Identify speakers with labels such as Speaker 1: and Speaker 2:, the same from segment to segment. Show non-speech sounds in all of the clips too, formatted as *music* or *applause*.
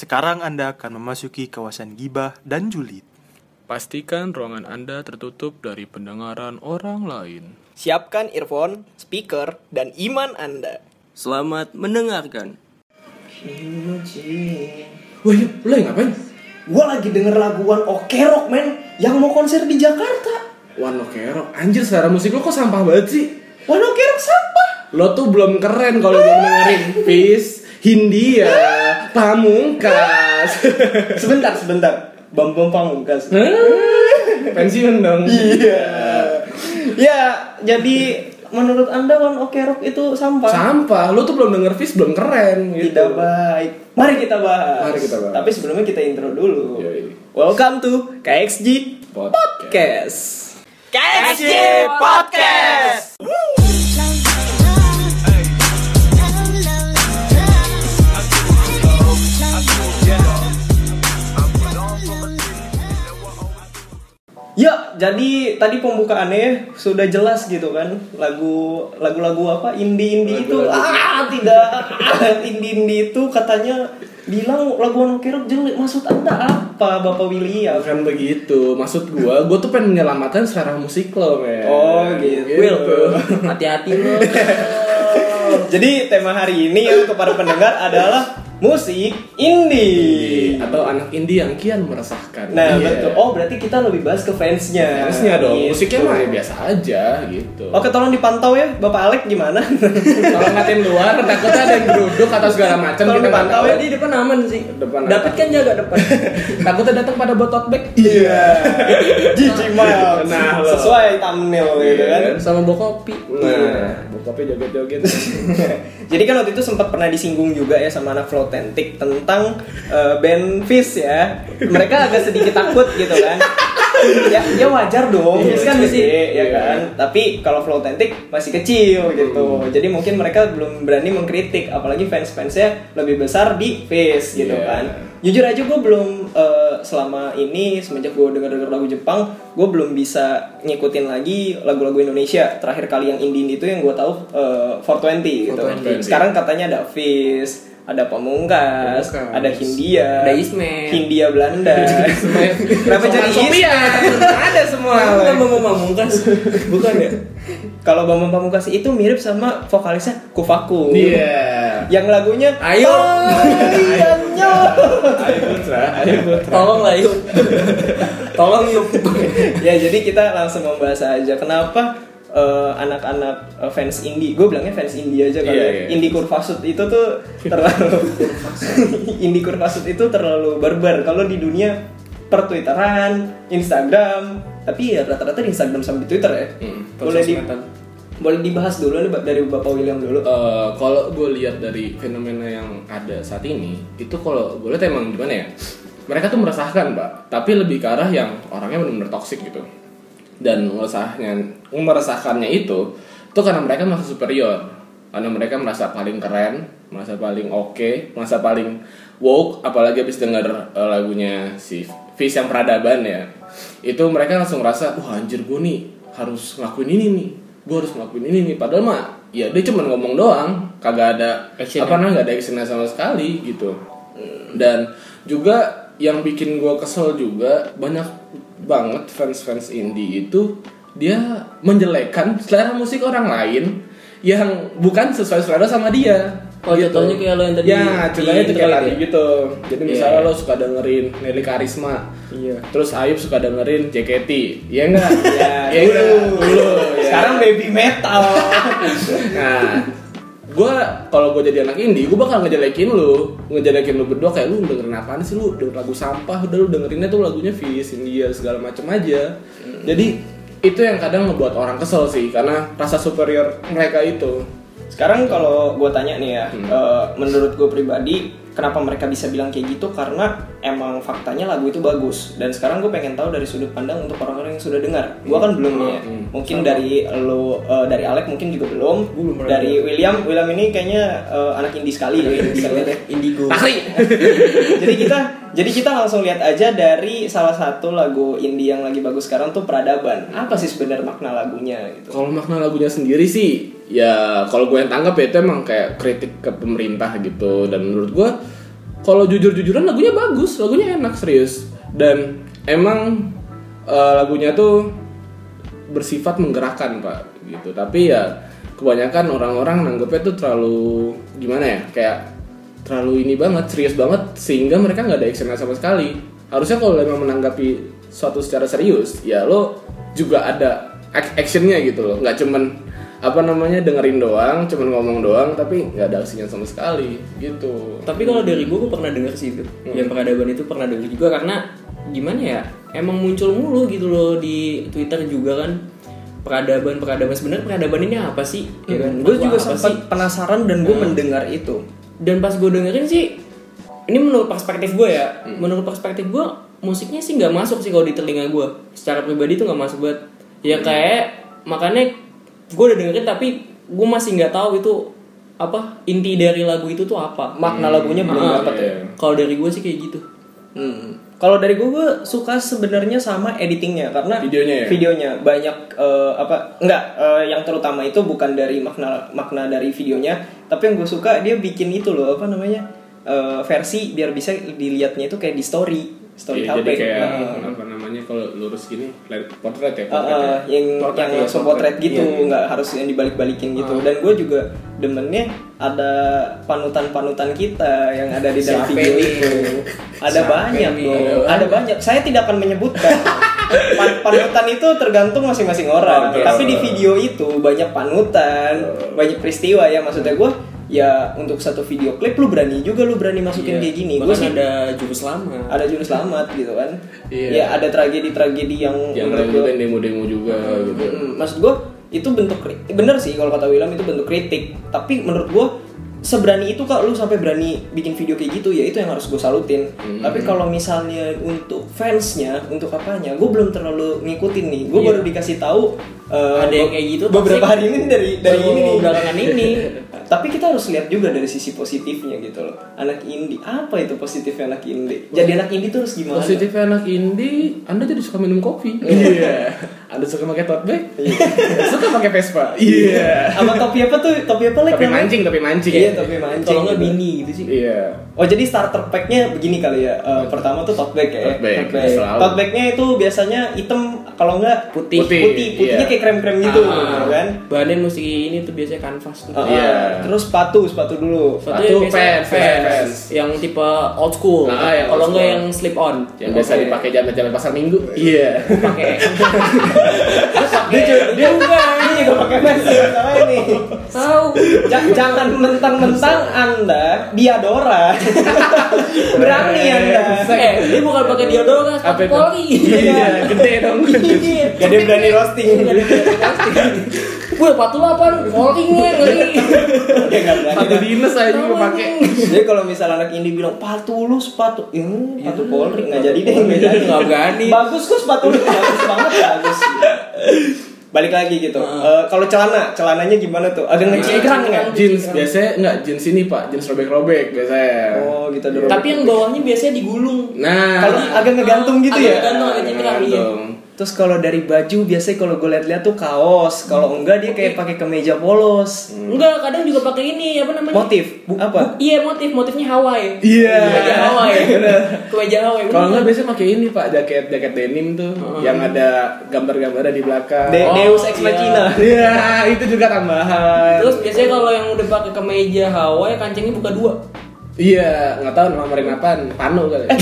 Speaker 1: Sekarang Anda akan memasuki kawasan gibah dan julid.
Speaker 2: Pastikan ruangan Anda tertutup dari pendengaran orang lain.
Speaker 3: Siapkan earphone, speaker, dan iman Anda.
Speaker 4: Selamat mendengarkan.
Speaker 5: Wah, iya, lo yang ngapain?
Speaker 3: Gua lagi denger laguan Oke Rock, men, yang mau konser di Jakarta.
Speaker 5: Wah, lo kerok. Anjir, selera musik lo kok sampah banget sih?
Speaker 3: Wah, Oke Rock sampah.
Speaker 5: Lo tuh belum keren kalau belum dengerin Peace, Hindia,
Speaker 3: *laughs*
Speaker 5: Pamungkas.
Speaker 3: Sebentar, sebentar. Bam Bam Pamungkas.
Speaker 5: Pensiun dong.
Speaker 3: Iya. Ya, jadi menurut Anda One Oke Rock itu sampah?
Speaker 5: Sampah, lo tuh belum denger Peace, belum keren gitu.
Speaker 3: Tidak baik. Mari kita bahas.
Speaker 5: Mari kita bahas.
Speaker 3: Tapi sebelumnya kita intro dulu.
Speaker 5: Yoi.
Speaker 3: Welcome to KXG
Speaker 5: Podcast.
Speaker 3: Podcast. KXG Podcast. Ya, jadi tadi pembukaannya sudah jelas gitu kan. Lagu lagu-lagu apa indie-indie itu ah tidak *laughs* indie-indie itu katanya bilang lagu Ono Kerok jelek. Maksud Anda apa, Bapak Ya, William?
Speaker 5: Bukan Kan begitu, maksud gua, gua tuh pengen menyelamatkan selera musik lo, men.
Speaker 3: Oh, gitu.
Speaker 4: Hati-hati lo.
Speaker 3: Jadi tema hari ini ya kepada pendengar adalah musik indie.
Speaker 5: Atau anak indie yang kian meresahkan.
Speaker 3: Nah,
Speaker 5: Iya.
Speaker 3: betul. Oh, berarti kita lebih bahas ke fansnya.
Speaker 5: Harusnya dong,
Speaker 3: Gitu.
Speaker 5: musiknya mah ya biasa aja gitu.
Speaker 3: Oke, tolong dipantau ya, Bapak Alek
Speaker 5: *laughs*
Speaker 3: gimana?
Speaker 5: Kalau ngatin luar, takutnya ada yang geruduk atau segala macam
Speaker 3: Tolong
Speaker 5: kita nggak
Speaker 3: dipantau
Speaker 5: tahu.
Speaker 3: ya,
Speaker 4: Di depan aman sih.
Speaker 5: Depan
Speaker 4: Dapat
Speaker 5: aman.
Speaker 4: kan jaga depan.
Speaker 5: Takutnya datang pada botot bag.
Speaker 3: Iya. Gigi Miles.
Speaker 5: Nah, lo.
Speaker 3: Sesuai thumbnail gitu kan.
Speaker 5: Iya,
Speaker 4: Sama bawa kopi.
Speaker 5: Nah, bokapnya joget-joget.
Speaker 3: *laughs* Jadi kan waktu itu sempat pernah disinggung juga ya sama anak Flotentik tentang eh, band Fish ya. Mereka agak sedikit takut gitu kan. ya, ya wajar dong, Fish kan masih ya kan. Tapi kalau Flotentik masih kecil gitu. Jadi mungkin mereka belum berani mengkritik apalagi fans-fansnya lebih besar di Fish gitu
Speaker 5: Iya.
Speaker 3: kan. Jujur aja gue belum eh, selama ini semenjak gue denger-denger lagu Jepang, gue belum bisa ngikutin lagi lagu-lagu Indonesia. Terakhir kali yang indie itu yang gue tahu eh, 420 gitu.
Speaker 5: 420.
Speaker 3: Sekarang katanya ada Fizz, ada Pamungkas,
Speaker 5: Pamungkas.
Speaker 3: ada Hindia,
Speaker 4: Ada Ismet.
Speaker 3: Hindia
Speaker 5: *laughs*
Speaker 3: Belanda. Kenapa jadi Ismet?
Speaker 5: ya? Ada semua.
Speaker 4: Kita mau ngomong kan.
Speaker 3: Iya.
Speaker 4: Bukan ya?
Speaker 3: Kalau Bambang Pamungkas itu mirip sama vokalisnya Kufaku.
Speaker 5: Iya.
Speaker 3: Yang lagunya
Speaker 4: Ayo.
Speaker 5: *laughs*
Speaker 3: Tayanyo.
Speaker 5: Ayo putra, ayo putra.
Speaker 4: Tolong lah
Speaker 3: *laughs*
Speaker 4: yuk. Tolong yuk.
Speaker 3: ya jadi kita langsung membahas aja kenapa eh, anak-anak eh, fans indie, gue bilangnya fans indie aja kali
Speaker 5: Iya,
Speaker 3: ya.
Speaker 5: iya.
Speaker 3: Indie kurvasut itu tuh terlalu *laughs* indie kurvasut itu terlalu barbar kalau di dunia pertwitteran, Instagram, tapi ya rata-rata di Instagram sama di Twitter ya.
Speaker 5: Hmm,
Speaker 3: boleh di,
Speaker 5: persosmedan.
Speaker 3: boleh dibahas dulu nih Ba- dari Bapak William dulu.
Speaker 5: Eh, kalau gue lihat dari fenomena yang ada saat ini, itu kalau gue lihat emang gimana ya? Mereka tuh meresahkan, Pak. Tapi lebih ke arah yang orangnya benar-benar toksik gitu. Dan meresahnya, meresahkannya itu, itu karena mereka merasa superior. Karena mereka merasa paling keren, merasa paling oke, merasa paling woke. Apalagi habis denger eh, lagunya si Fish yang peradaban ya. Itu mereka langsung ngerasa, wah anjir gue nih harus ngelakuin ini nih gue harus ngelakuin ini nih padahal mah ya dia cuma ngomong doang kagak ada apa namanya nggak ada actionnya sama sekali gitu dan juga yang bikin gue kesel juga banyak banget fans-fans indie itu dia menjelekkan selera musik orang lain yang bukan sesuai selera sama dia Gitu.
Speaker 4: Oh, contohnya kayak lo yang tadi
Speaker 5: ya
Speaker 4: di-
Speaker 5: contohnya
Speaker 4: itu
Speaker 5: itu kayak
Speaker 4: kali
Speaker 5: tadi
Speaker 4: ya?
Speaker 5: gitu jadi
Speaker 4: Iya.
Speaker 5: misalnya lo suka dengerin Nelly Karisma
Speaker 3: Iya.
Speaker 5: terus Ayub suka dengerin JKT ya enggak
Speaker 3: Ya,
Speaker 5: *laughs* Iya,
Speaker 3: dulu.
Speaker 5: dulu, ya.
Speaker 3: Sekarang baby *laughs* metal.
Speaker 5: Nah, gue kalau gue jadi anak indie, gue bakal ngejelekin lu, ngejelekin lu berdua kayak lu dengerin apaan sih lu, denger lagu sampah, udah lu dengerinnya tuh lagunya Fis, India segala macem aja. Jadi itu yang kadang ngebuat orang kesel sih, karena rasa superior mereka itu.
Speaker 3: Sekarang kalau gue tanya nih ya, eh, menurut gue pribadi, kenapa mereka bisa bilang kayak gitu? Karena emang faktanya lagu itu bagus. Dan sekarang gue pengen tahu dari sudut pandang untuk orang-orang yang sudah dengar. Gue kan belum nih ya.
Speaker 5: Hmm.
Speaker 3: Mungkin dari lo, eh, dari Alek mungkin juga belum. Dari William, William ini kayaknya eh, anak indie sekali. ya, bisa lihat ya.
Speaker 4: Indigo.
Speaker 3: *laughs* jadi kita, jadi kita langsung lihat aja dari salah satu lagu indie yang lagi bagus sekarang tuh Peradaban. Apa sih sebenarnya makna lagunya gitu?
Speaker 5: Kalau makna lagunya sendiri sih, ya kalau gue yang tanggap ya itu emang kayak kritik ke pemerintah gitu, dan menurut gue kalau jujur-jujuran lagunya bagus, lagunya enak serius. Dan emang eh, lagunya tuh bersifat menggerakkan pak gitu. Tapi ya kebanyakan orang-orang nanggepnya tuh terlalu gimana ya kayak terlalu ini banget serius banget sehingga mereka nggak ada actionnya sama sekali. Harusnya kalau emang menanggapi suatu secara serius ya lo juga ada ac- actionnya gitu loh nggak cuman apa namanya dengerin doang cuman ngomong doang tapi nggak ada aksinya sama sekali gitu
Speaker 4: Tapi kalau dari gue, gue pernah denger sih itu. Yang peradaban itu pernah denger juga karena gimana ya? Emang muncul mulu gitu loh di Twitter juga kan peradaban peradaban sebenarnya peradaban ini apa sih? Ya kan?
Speaker 3: gue
Speaker 4: Fatwa
Speaker 3: Iya Hmm. juga
Speaker 4: apa sih?
Speaker 3: sempat penasaran dan
Speaker 5: Nah.
Speaker 3: gue mendengar itu
Speaker 4: Dan pas gue dengerin sih, ini menurut perspektif gue ya, menurut perspektif gue musiknya sih nggak masuk sih kalau di telinga gue. Secara pribadi tuh nggak masuk banget. Ya kayak makanya gue udah dengerin tapi gue masih nggak tahu itu apa inti dari lagu itu tuh apa.
Speaker 3: makna lagunya belum
Speaker 4: Ah,
Speaker 3: dapat ya
Speaker 5: iya.
Speaker 4: Kalau dari gue sih kayak gitu.
Speaker 3: Hmm. Kalau dari gue, gue suka sebenarnya sama editingnya karena
Speaker 5: Videonya ya?
Speaker 3: videonya banyak eh, apa enggak eh, yang terutama itu bukan dari makna makna dari videonya tapi yang gue suka dia bikin itu loh apa namanya eh, versi biar bisa dilihatnya itu kayak di story story
Speaker 5: Iya,
Speaker 3: HP
Speaker 5: jadi kayak
Speaker 3: Nah,
Speaker 5: apa namanya kalau lurus gini light- portrait ya
Speaker 3: Ah,
Speaker 5: portrait
Speaker 3: ah,
Speaker 5: ya?
Speaker 3: yang yang
Speaker 5: ya,
Speaker 3: langsung potret gitu
Speaker 5: Iya, Ah. iya.
Speaker 3: nggak harus yang dibalik-balikin gitu dan gue juga demennya ada panutan-panutan kita yang ada di dalam
Speaker 4: Siapa
Speaker 3: video
Speaker 4: nih?
Speaker 3: itu ada
Speaker 4: Siapa
Speaker 3: banyak
Speaker 4: nih?
Speaker 3: bro
Speaker 4: Ada
Speaker 3: ada banyak saya tidak akan menyebutkan Pan- panutan itu tergantung masing-masing orang
Speaker 5: Oke.
Speaker 3: tapi di video itu banyak panutan banyak peristiwa ya maksudnya gue ya untuk satu video klip lu berani juga lu berani masukin
Speaker 4: Iya.
Speaker 3: kayak gini gue
Speaker 4: Bahkan
Speaker 3: sih
Speaker 4: ada jurus lama.
Speaker 3: ada jurus selamat gitu kan
Speaker 5: Iya.
Speaker 3: ya ada tragedi-tragedi yang,
Speaker 5: yang
Speaker 3: menurut
Speaker 5: ada
Speaker 3: gua-
Speaker 5: juga demo-demo juga gitu
Speaker 3: Mm, maksud gue itu bentuk kritik bener sih kalau kata William itu bentuk kritik tapi menurut gue seberani itu kak lu sampai berani bikin video kayak gitu ya itu yang harus gue salutin tapi kalau misalnya untuk fansnya untuk apanya gue belum terlalu ngikutin nih
Speaker 5: Iya.
Speaker 3: gue baru dikasih tahu eh,
Speaker 4: Ada yang
Speaker 3: be-
Speaker 4: kayak gitu,
Speaker 3: beberapa
Speaker 4: tapi-
Speaker 3: hari ini dari dari
Speaker 5: Oh.
Speaker 4: baru
Speaker 3: ini nih.
Speaker 4: belakangan ini.
Speaker 5: *laughs*
Speaker 3: tapi kita harus lihat juga dari sisi positifnya gitu loh anak indie apa itu positifnya anak indie jadi anak indie tuh harus gimana Iya.
Speaker 5: positif anak indie anda jadi suka minum kopi iya *laughs* anda suka pakai tote bag
Speaker 3: Iya.
Speaker 5: *laughs* suka pakai vespa iya
Speaker 3: sama topi apa tuh topi apa lagi
Speaker 5: tapi mancing tapi mancing ya?
Speaker 3: iya topi mancing
Speaker 4: Kalau nggak
Speaker 3: gitu.
Speaker 4: bini gitu sih.
Speaker 5: iya
Speaker 3: Oh jadi starter packnya begini kali ya. Eh, pertama tuh tote bag ya.
Speaker 5: Tote bag, selalu.
Speaker 3: Tote bagnya itu biasanya hitam kalau enggak
Speaker 4: Putih.
Speaker 3: Putih. Putihnya
Speaker 5: iya.
Speaker 3: kayak krem-krem gitu,
Speaker 4: Ah,
Speaker 3: kan?
Speaker 4: Bahannya mesti ini tuh biasanya kanvas tuh.
Speaker 3: Ah, ah.
Speaker 5: Iya.
Speaker 3: Terus sepatu, sepatu dulu.
Speaker 4: Sepatu
Speaker 5: Sepatu
Speaker 4: yang biasanya
Speaker 5: fans, fans.
Speaker 4: fans. yang tipe old school.
Speaker 5: Ah, yang
Speaker 4: Kalau
Speaker 5: old
Speaker 4: nggak
Speaker 5: school.
Speaker 4: yang slip on.
Speaker 5: yang biasa
Speaker 3: Oke.
Speaker 5: dipakai jalan-jalan pasar minggu iya *laughs*
Speaker 4: Pakai.
Speaker 3: Dia juga, dia juga, dia juga pakai vest masalah ini.
Speaker 4: Tahu.
Speaker 3: Ja- jangan mentang-mentang Anda *laughs* Diadora. Berani Anda.
Speaker 4: Eh, dia bukan pakai deodoran,
Speaker 5: Apa
Speaker 4: pakai
Speaker 5: itu?
Speaker 4: poli.
Speaker 5: iya gede dong
Speaker 3: Gak ada yang berani roasting.
Speaker 4: Nggak ada yang plastik. Gue patu apa? Poli gue ngeri.
Speaker 3: Dia nggak
Speaker 5: satu
Speaker 3: berani.
Speaker 5: dinas aja gue Iya, pakai
Speaker 3: Jadi kalau misalnya anak ini bilang patu lu sepatu, ya sepatu polri nggak jadi deh Iya, nggak jadi
Speaker 4: Nggak berani.
Speaker 3: Bagus kok sepatu lu bagus banget bagus. Balik lagi gitu. Eh, kalau celana, celananya gimana tuh? Agak ya? ngecegrang nggak?
Speaker 5: jeans biasanya nggak jeans ini pak jeans robek-robek biasanya
Speaker 3: Oh gitu dong.
Speaker 4: Tapi yang bawahnya biasanya digulung.
Speaker 5: nah
Speaker 3: kalau agak ngegantung gitu
Speaker 4: Agak
Speaker 3: ya.
Speaker 4: ngegantung, agak nyegrang, iya.
Speaker 5: Ngegantung.
Speaker 3: Terus kalau dari baju biasanya kalau gue lihat-lihat tuh kaos.
Speaker 4: Hmm.
Speaker 3: Kalau enggak dia kayak pakai kemeja polos.
Speaker 4: Enggak, kadang juga pakai ini apa namanya?
Speaker 3: Motif apa?
Speaker 4: Iya motif, motifnya Hawaii.
Speaker 5: Iya.
Speaker 4: Kemeja Hawaii.
Speaker 5: *laughs*
Speaker 4: Kemeja Hawaii.
Speaker 5: Kalau nggak biasanya pakai ini pak jaket jaket denim tuh yang ada gambar-gambarnya di belakang.
Speaker 3: Oh. De-
Speaker 4: Oh,
Speaker 3: Deus ex
Speaker 4: iya.
Speaker 3: machina.
Speaker 5: *laughs* Iya itu juga tambahan.
Speaker 4: Terus biasanya kalau yang udah pakai kemeja Hawaii kancingnya buka dua.
Speaker 5: iya nggak tahu nomorin apaan pano kali.
Speaker 3: Eh,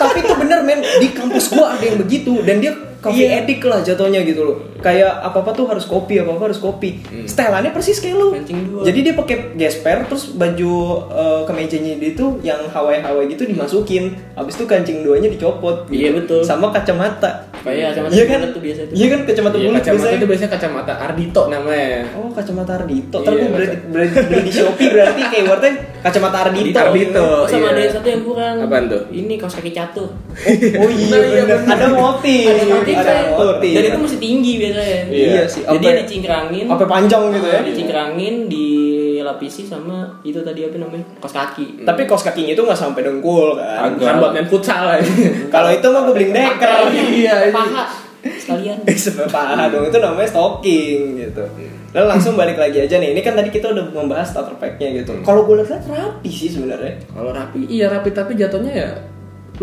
Speaker 3: tapi itu bener men di kampus gua ada yang begitu dan dia coffee
Speaker 4: Iya.
Speaker 3: edik lah jatuhnya gitu loh kayak apa apa tuh harus kopi apa apa harus kopi setelannya persis kayak lu
Speaker 4: Mancing Hmm. dua.
Speaker 3: jadi dia pakai gesper terus baju eh, kemejanya dia itu yang hawaii hawaii gitu dimasukin habis itu kancing duanya dicopot gitu.
Speaker 4: Iya, betul.
Speaker 3: sama kacamata
Speaker 4: Kayak kacamata
Speaker 3: iya kan
Speaker 4: bulat tuh biasa tuh.
Speaker 3: iya kan kacamata
Speaker 5: Iya,
Speaker 3: bulat
Speaker 5: kacamata
Speaker 3: biasanya.
Speaker 5: itu biasanya kacamata Ardito namanya.
Speaker 3: Oh kacamata Ardito, ntar
Speaker 5: Iya,
Speaker 3: gua beli, beli, beli di Shopee berarti keywordnya kacamata Ardito.
Speaker 5: Ardito.
Speaker 4: Oh, sama
Speaker 5: iya.
Speaker 4: ada satu yang kurang.
Speaker 5: Apaan tuh?
Speaker 4: Ini kaos kaki catu.
Speaker 3: Oh iya, bener. ada motif,
Speaker 4: Ada motif. kan?
Speaker 3: motif.
Speaker 4: Dan itu mesti tinggi biasanya.
Speaker 5: Iya.
Speaker 3: Iya sih.
Speaker 4: Jadi
Speaker 3: apa-
Speaker 4: dicingkrangin.
Speaker 3: apa panjang gitu ya.
Speaker 4: Iya. Dicingkrangin, dilapisi sama itu tadi apa namanya? Kaos kaki.
Speaker 5: Iya,
Speaker 3: Tapi kos kakinya itu nggak sampai dengkul kan.
Speaker 4: *laughs*
Speaker 5: Bukan buat main futsal aja.
Speaker 3: Kalau itu mah gue beli deker.
Speaker 5: Iya.
Speaker 4: Paha. sekalian
Speaker 3: Eh, sebenarnya parah dong itu namanya stalking gitu lalu langsung balik lagi aja nih ini kan tadi kita udah membahas starter pack-nya
Speaker 4: Hmm.
Speaker 3: gitu kalau gue lihat rapi sih sebenarnya
Speaker 4: *laughs*
Speaker 5: Kalau rapi iya rapi tapi jatuhnya ya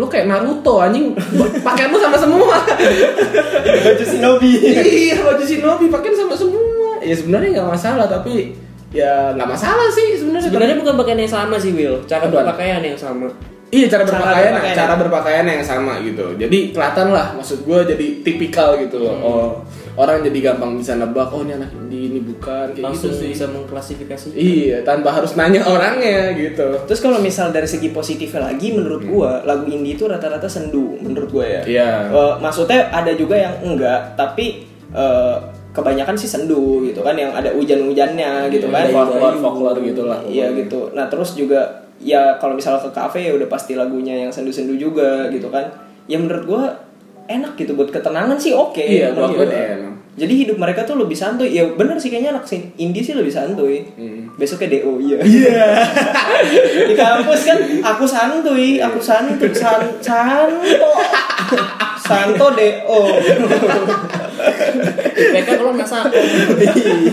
Speaker 5: lu kayak Naruto anjing pakaian lu sama semua
Speaker 3: baju shinobi
Speaker 5: iya baju shinobi pakaian sama semua ya sebenarnya nggak masalah tapi ya nggak masalah sih sebenarnya
Speaker 4: sebenarnya bukan pakaian yang sama sih Will cara
Speaker 5: Apaan?
Speaker 4: berpakaian yang sama
Speaker 5: Iya cara
Speaker 3: Cara
Speaker 5: berpakaian, cara
Speaker 3: berpakaian.
Speaker 5: berpakaian, yang sama gitu. Jadi kelihatan lah, maksud gue jadi tipikal gitu loh. Oh, orang jadi gampang bisa nebak, oh ini anak ini, ini bukan kayak
Speaker 4: langsung
Speaker 5: gitu sih.
Speaker 4: bisa mengklasifikasi Eh,
Speaker 5: Iya, tanpa harus nanya orangnya gitu.
Speaker 3: terus kalau misal dari segi positifnya lagi menurut gue lagu indie itu rata-rata sendu menurut gue ya
Speaker 5: Iya.
Speaker 3: Eh, maksudnya ada juga yang enggak tapi eh, kebanyakan sih sendu gitu kan yang ada hujan-hujannya
Speaker 5: Iya,
Speaker 3: gitu kan
Speaker 5: Folklore, folklore gitu lah.
Speaker 3: Iya gitu. Nah terus juga ya kalau misalnya ke kafe ya udah pasti lagunya yang sendu-sendu juga gitu kan. Ya menurut gua enak gitu buat ketenangan sih oke.
Speaker 5: Iya,
Speaker 3: Menurut
Speaker 5: gua
Speaker 3: gua.
Speaker 5: akui enak.
Speaker 3: Jadi hidup mereka tuh lebih santuy. Ya bener sih kayaknya anak sin- indie sih lebih santuy. Besoknya DO iya. *laughs* Di kampus kan aku santuy, aku santuy, san, *laughs* santo. Santo DO.
Speaker 4: mereka kalau nggak satu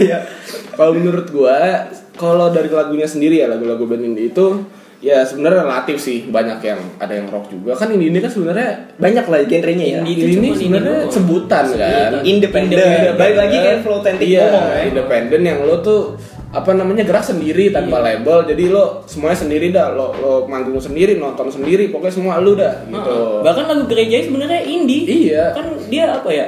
Speaker 3: iya.
Speaker 5: Kalau menurut gue, kalau dari lagunya sendiri ya lagu-lagu band indie itu ya sebenarnya relatif sih banyak yang ada yang rock juga kan ini ini kan sebenarnya
Speaker 3: Banyak lah genrenya ya.
Speaker 4: Indie.
Speaker 5: ini
Speaker 4: Itu
Speaker 5: ini
Speaker 4: cuma
Speaker 5: sebenarnya
Speaker 4: ini doang.
Speaker 5: sebutan kan
Speaker 4: Sebutan.
Speaker 3: Independen. Baik lagi kayak flow tentik
Speaker 5: iya,
Speaker 3: ngomong ya.
Speaker 5: independen yang lo tuh apa namanya gerak sendiri tanpa
Speaker 4: Iya.
Speaker 5: label jadi lo semuanya sendiri dah lo lo manggung sendiri nonton sendiri pokoknya semua lo dah gitu
Speaker 4: bahkan lagu gereja sebenarnya indie
Speaker 5: Iya.
Speaker 4: kan dia apa ya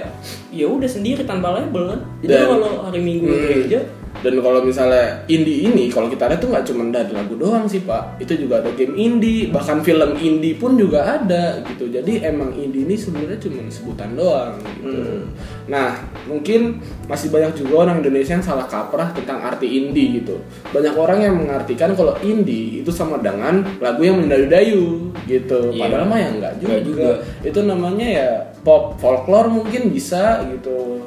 Speaker 4: ya udah sendiri tanpa label kan jadi
Speaker 5: Dan-
Speaker 4: kalau hari minggu
Speaker 5: Hmm.
Speaker 4: gereja
Speaker 5: dan kalau misalnya indie ini kalau kita lihat tuh nggak cuma dari lagu doang sih pak itu juga ada game indie bahkan film indie pun juga ada gitu jadi emang indie ini sebenarnya cuma sebutan doang gitu
Speaker 4: Hmm.
Speaker 5: nah mungkin masih banyak juga orang Indonesia yang salah kaprah tentang arti indie gitu banyak orang yang mengartikan kalau indie itu sama dengan lagu yang mendayu-dayu gitu
Speaker 4: Iya.
Speaker 5: padahal mah ya nggak juga.
Speaker 4: Nggak juga.
Speaker 5: itu namanya ya pop folklore mungkin bisa gitu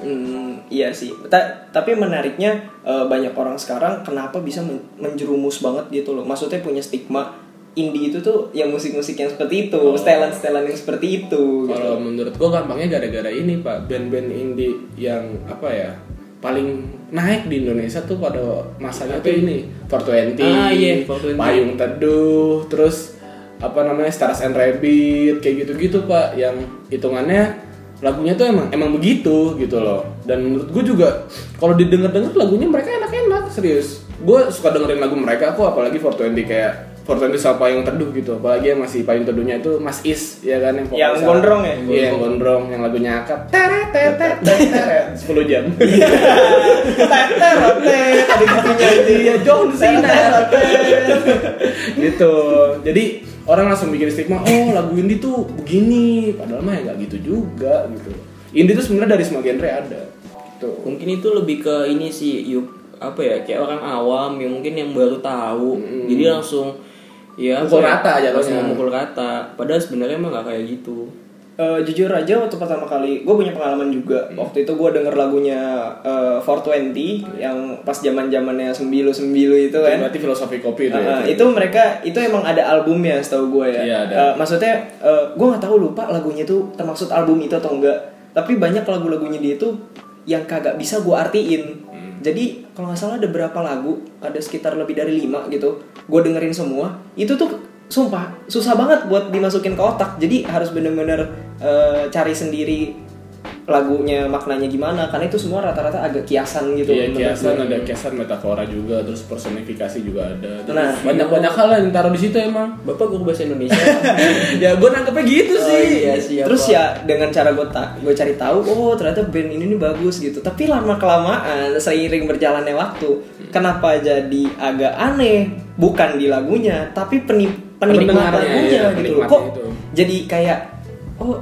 Speaker 3: Hmm, iya sih. Ta- tapi menariknya eh, banyak orang sekarang kenapa bisa men- menjerumus banget gitu loh. Maksudnya punya stigma indie itu tuh yang musik-musik yang seperti itu, setelan-setelan yang seperti itu gitu.
Speaker 5: Kalau menurut gua gampangnya gara-gara ini pak band-band indie yang apa ya paling naik di Indonesia tuh pada masanya tuh ini 420,
Speaker 4: Ah, iya, 420.
Speaker 5: Payung Teduh, terus apa namanya Stars and Rabbit kayak gitu-gitu pak yang hitungannya lagunya tuh emang emang begitu gitu loh dan menurut gue juga kalau didengar-dengar lagunya mereka enak-enak serius gue suka dengerin lagu mereka kok apalagi 420 kayak 420 sama Payung Teduh gitu apalagi yang masih Payung Teduhnya itu Mas Is ya kan yang
Speaker 3: Yang
Speaker 5: Vokalis-
Speaker 3: gondrong ya?
Speaker 5: Iya, yang gondrong yang lagunya akap. Teret teret
Speaker 3: *laughs*
Speaker 5: teret 10 jam. *laughs*
Speaker 3: Teter, teter, tadi katanya itu.
Speaker 5: Iya, John Cena.
Speaker 3: Teter, teter.
Speaker 5: gitu. Jadi orang langsung bikin stigma, oh lagu indie tuh begini, padahal mah ya nggak gitu juga gitu. Indie tuh sebenarnya dari semua genre ada. Gitu.
Speaker 4: mungkin itu lebih ke ini sih yuk apa ya kayak orang awam yang mungkin yang baru tahu jadi langsung
Speaker 5: Hmm.
Speaker 4: ya
Speaker 5: Mukul
Speaker 4: apa ya,
Speaker 5: rata jatuhnya.
Speaker 4: langsung memukul rata padahal sebenarnya emang nggak kayak gitu
Speaker 3: Eh, jujur aja waktu pertama kali gue punya pengalaman juga waktu itu gue denger lagunya eh, 420 yang pas zaman zamannya sembilu sembilu itu
Speaker 5: Itu
Speaker 3: kan
Speaker 5: berarti filosofi kopi itu.
Speaker 3: Nah,
Speaker 5: ya.
Speaker 3: itu mereka itu emang ada albumnya setahu gue ya.
Speaker 5: Iya, ada.
Speaker 3: Eh, maksudnya gue nggak tahu lupa lagunya itu termasuk album itu atau enggak. Tapi banyak lagu-lagunya dia itu yang kagak bisa gue artiin.
Speaker 5: Hmm.
Speaker 3: Jadi kalau nggak salah ada berapa lagu, ada sekitar lebih dari lima gitu. Gue dengerin semua. Itu tuh sumpah susah banget buat dimasukin ke otak. Jadi harus bener-bener eh, cari sendiri lagunya maknanya gimana. Karena itu semua rata-rata agak kiasan gitu.
Speaker 5: Iya,
Speaker 3: menurut
Speaker 5: kiasan
Speaker 3: gue.
Speaker 5: ada kiasan metafora juga, terus personifikasi juga ada. Terus
Speaker 3: Nah,
Speaker 5: banyak-banyak hal yang taruh di situ emang.
Speaker 4: bapak guru bahasa Indonesia
Speaker 5: *laughs* ya gue nangkepnya gitu
Speaker 4: Oh,
Speaker 5: sih.
Speaker 4: iya siapa?
Speaker 3: Terus ya dengan cara gue ta- gue cari tahu, oh ternyata band ini nih bagus gitu. Tapi lama kelamaan seiring berjalannya waktu,
Speaker 5: Hmm.
Speaker 3: kenapa jadi agak aneh? Bukan di lagunya, tapi peni- penikmat
Speaker 5: Pendengarnya,
Speaker 3: lagunya
Speaker 5: iya,
Speaker 3: gitu. loh.
Speaker 5: penikmatnya
Speaker 3: Kok
Speaker 5: itu.
Speaker 3: jadi kayak oh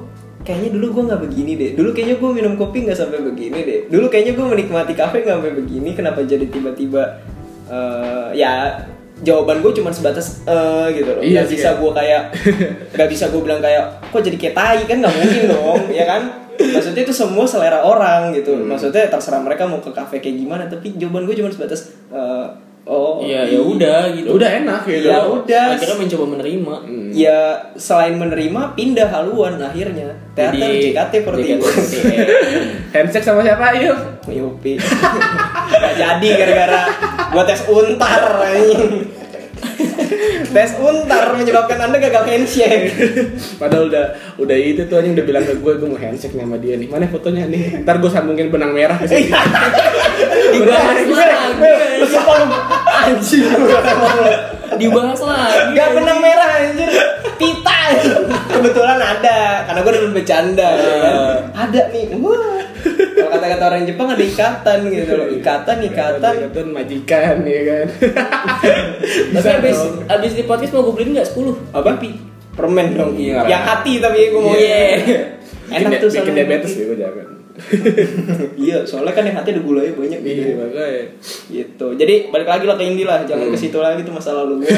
Speaker 3: kayaknya dulu gue nggak begini deh. Dulu kayaknya gue minum kopi nggak sampai begini deh. Dulu kayaknya gue menikmati kafe nggak sampai begini. Kenapa jadi tiba-tiba eh, ya jawaban gue cuma sebatas eh gitu loh.
Speaker 5: Iya
Speaker 3: Nggak
Speaker 5: sih,
Speaker 3: bisa
Speaker 5: ya.
Speaker 3: gue kayak nggak bisa gue bilang kayak kok jadi kayak tai kan nggak mungkin dong ya kan maksudnya itu semua selera orang gitu maksudnya terserah mereka mau ke kafe kayak gimana tapi jawaban gue cuma sebatas eh, oh
Speaker 4: ya ya udah gitu
Speaker 5: udah enak gitu
Speaker 3: Ya udah.
Speaker 4: akhirnya mencoba menerima
Speaker 5: Hmm.
Speaker 3: ya selain menerima pindah haluan akhirnya teater
Speaker 4: Jadi-
Speaker 3: JKT48
Speaker 4: JKT48.
Speaker 3: *laughs*
Speaker 5: handshake sama siapa yuk
Speaker 3: Yupi Gak jadi gara-gara gua tes untar anjing. Tes untar menyebabkan anda gagal handshake
Speaker 5: Padahal udah udah itu tuh anjing udah bilang ke gue gue mau handshake nih sama dia nih. Mana fotonya nih? Ntar gue sambungin benang merah ke sini.
Speaker 3: Iya, Dibahas
Speaker 4: lagi.
Speaker 3: Sumpah lu Anjing
Speaker 4: dibahas lagi
Speaker 3: Gak benang merah anjir Pita anjing. Kebetulan ada Karena gua udah bercanda ya kan.
Speaker 4: Ah.
Speaker 3: Ada nih Wah. Kalau kata-kata orang Jepang ada ikatan gitu loh Ikatan, ikatan
Speaker 5: Ikatan majikan ya kan.
Speaker 3: *laughs*
Speaker 4: tapi abis
Speaker 5: dong.
Speaker 4: abis di podcast mau gue beliin nggak 10
Speaker 3: Apa? Permen dong
Speaker 5: Iya.
Speaker 3: Yang hati tapi gue mau
Speaker 4: Iya.
Speaker 5: Bikin
Speaker 3: Enak
Speaker 5: dia-
Speaker 3: tuh
Speaker 5: bikin
Speaker 3: sama
Speaker 5: diabetes *laughs* ya gue jangan.
Speaker 3: Iya, soalnya kan yang hati ada gulanya banyak gitu.
Speaker 5: Iya Hmm. makanya.
Speaker 3: Gitu. Jadi balik lagi lah ke Indi lah, jangan ke situ lagi tuh masa lalu
Speaker 5: *laughs*
Speaker 3: gue.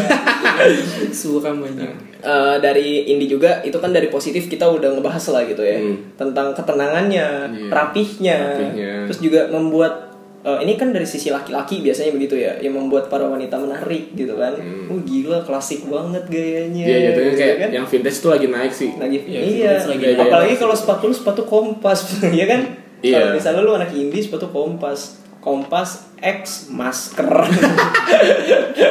Speaker 4: suram aja
Speaker 3: Eh, dari Indi juga itu kan dari positif kita udah ngebahas lah gitu ya
Speaker 5: Hmm.
Speaker 3: tentang ketenangannya,
Speaker 5: Iya.
Speaker 3: rapihnya,
Speaker 5: Rapihnya.
Speaker 3: terus juga membuat eh, ini kan dari sisi laki-laki biasanya begitu ya, yang membuat para wanita menarik gitu kan.
Speaker 5: Hmm.
Speaker 3: Oh gila klasik banget gayanya.
Speaker 5: Iya jatuhnya
Speaker 3: gitu
Speaker 5: kayak
Speaker 3: kan?
Speaker 5: yang vintage tuh lagi naik sih.
Speaker 3: lagi
Speaker 4: Iya,
Speaker 3: iya.
Speaker 4: terus lagi
Speaker 5: naik.
Speaker 3: apalagi kalau sepatu lu sepatu kompas *laughs* ya kan
Speaker 5: Iya.
Speaker 3: kalau misalnya lu anak indie sepatu kompas kompas X masker *laughs*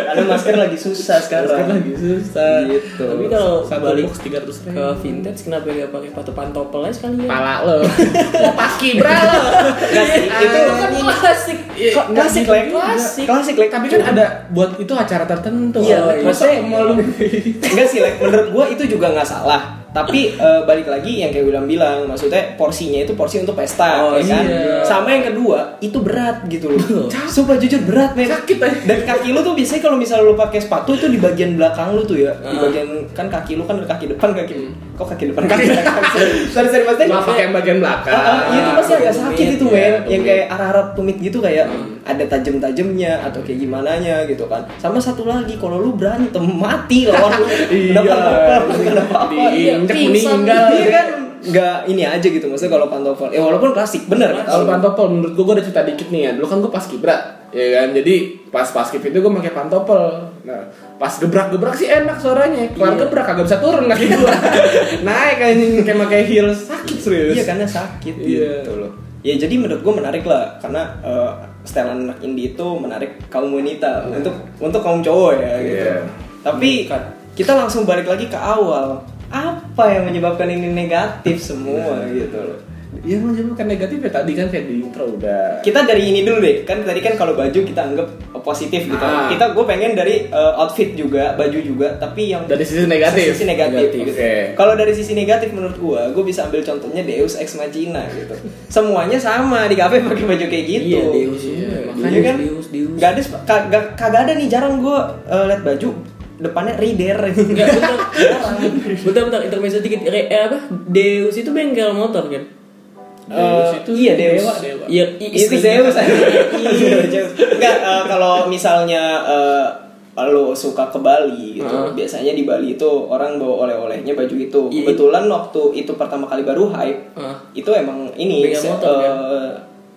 Speaker 3: ada masker lagi susah sekarang
Speaker 5: Sekarang lagi susah.
Speaker 3: Gitu.
Speaker 4: tapi kalau
Speaker 5: Satu
Speaker 4: balik
Speaker 5: box 300
Speaker 4: ke vintage kenapa nggak pakai sepatu pantopel aja sekalian
Speaker 5: Pala lo. Oh, Paski bra lo.
Speaker 3: *laughs* Nggak sih, Nah, itu
Speaker 4: itu kan klasik
Speaker 3: Kok klasik lek
Speaker 4: klasik
Speaker 3: klasik lek
Speaker 5: Iya, gitu. Tapi kan ada buat itu acara tertentu.
Speaker 3: Iya,
Speaker 5: Oh,
Speaker 3: maksudnya-
Speaker 5: masa sama lu.
Speaker 3: enggak sih Lek. menurut gua itu juga nggak salah tapi eh, balik lagi yang kayak bilang bilang maksudnya porsinya itu porsi untuk pesta
Speaker 4: Oh,
Speaker 3: ya kan
Speaker 4: iya.
Speaker 3: sama yang kedua itu berat gitu loh sumpah jujur berat men
Speaker 5: Sakit, eh.
Speaker 3: dan kaki lu tuh biasanya kalau misalnya lu pakai sepatu itu di bagian belakang lu tuh ya di
Speaker 5: Ah.
Speaker 3: bagian kan kaki lu kan ada kaki depan kaki kok kaki depan
Speaker 5: *laughs*
Speaker 3: kaki belakang sorry sorry maksudnya
Speaker 5: Hmm. Maaf pakai yang bagian belakang.
Speaker 3: Ah, ah, iya, itu pasti agak sakit
Speaker 4: Tumit,
Speaker 3: itu
Speaker 5: ya,
Speaker 3: men yang
Speaker 5: Kan. tumit. Hmm.
Speaker 3: kayak arah-arah tumit gitu kayak ada tajam-tajamnya atau kayak gimana gitu kan sama satu lagi kalau lu berantem mati lawan lu
Speaker 5: *laughs* Iya.
Speaker 3: kenapa kenapa apa
Speaker 5: Iya,
Speaker 4: Injek
Speaker 5: pingsan.
Speaker 4: meninggal.
Speaker 3: iya kan nggak ini aja gitu maksudnya kalau pantofel ya walaupun klasik bener
Speaker 5: Kalau
Speaker 3: kalau
Speaker 5: pantopel menurut gue gue ada cerita dikit nih ya. Dulu kan gue pas kibra, ya kan. Jadi pas pas kib itu gue pakai pantopel. Nah, pas gebrak-gebrak sih enak suaranya. Keluar
Speaker 3: Iya.
Speaker 5: gebrak kagak bisa turun kaki
Speaker 3: *laughs*
Speaker 5: gue. Naik anjing kayak pakai heels sakit serius.
Speaker 3: Iya karena sakit
Speaker 5: Iya.
Speaker 3: gitu loh. Ya jadi menurut gue menarik lah karena eh, style anak indie itu menarik kaum wanita untuk untuk kaum cowok ya gitu.
Speaker 5: Iya.
Speaker 3: Tapi kita langsung balik lagi ke awal. Apa yang menyebabkan ini negatif semua gitu loh.
Speaker 5: Iya emang jadi bukan negatif ya tadi kan kayak di intro udah.
Speaker 3: Kita dari ini dulu deh. Kan tadi kan kalau baju kita anggap eh, positif gitu.
Speaker 5: Ah.
Speaker 3: Kita gue pengen dari eh, outfit juga, baju juga, tapi yang
Speaker 5: Dari sisi negatif.
Speaker 3: sisi negatif, gitu.
Speaker 5: Oke.
Speaker 3: Kalau dari sisi negatif menurut gua, gua bisa ambil contohnya Deus Ex Machina gitu. Semuanya sama di kafe pakai baju kayak gitu.
Speaker 4: iya deus
Speaker 5: Iya,
Speaker 4: makanya
Speaker 3: Iya kan?
Speaker 4: deus deus
Speaker 3: Gak ada sep- ka- ga- kagak ada nih jarang gua eh, liat baju depannya Reader. *laughs*
Speaker 4: Enggak, bentar, bentar, bentar, intermezzo dikit. Re, eh, apa? Deus itu bengkel motor kan?
Speaker 5: Deus itu
Speaker 3: iya, Deus.
Speaker 5: dewa, dewa.
Speaker 4: Iya, i-
Speaker 3: itu
Speaker 4: istrinya.
Speaker 3: Zeus. Iya, Enggak eh, kalau misalnya eh, lo suka ke Bali gitu.
Speaker 4: Heeh.
Speaker 3: Biasanya di Bali itu orang bawa oleh-olehnya baju itu.
Speaker 4: Iya.
Speaker 3: Kebetulan waktu itu pertama kali baru hype,
Speaker 4: Heeh.
Speaker 3: itu emang ini
Speaker 4: Bengkel
Speaker 3: se-
Speaker 4: motor,
Speaker 3: eh,
Speaker 4: kan?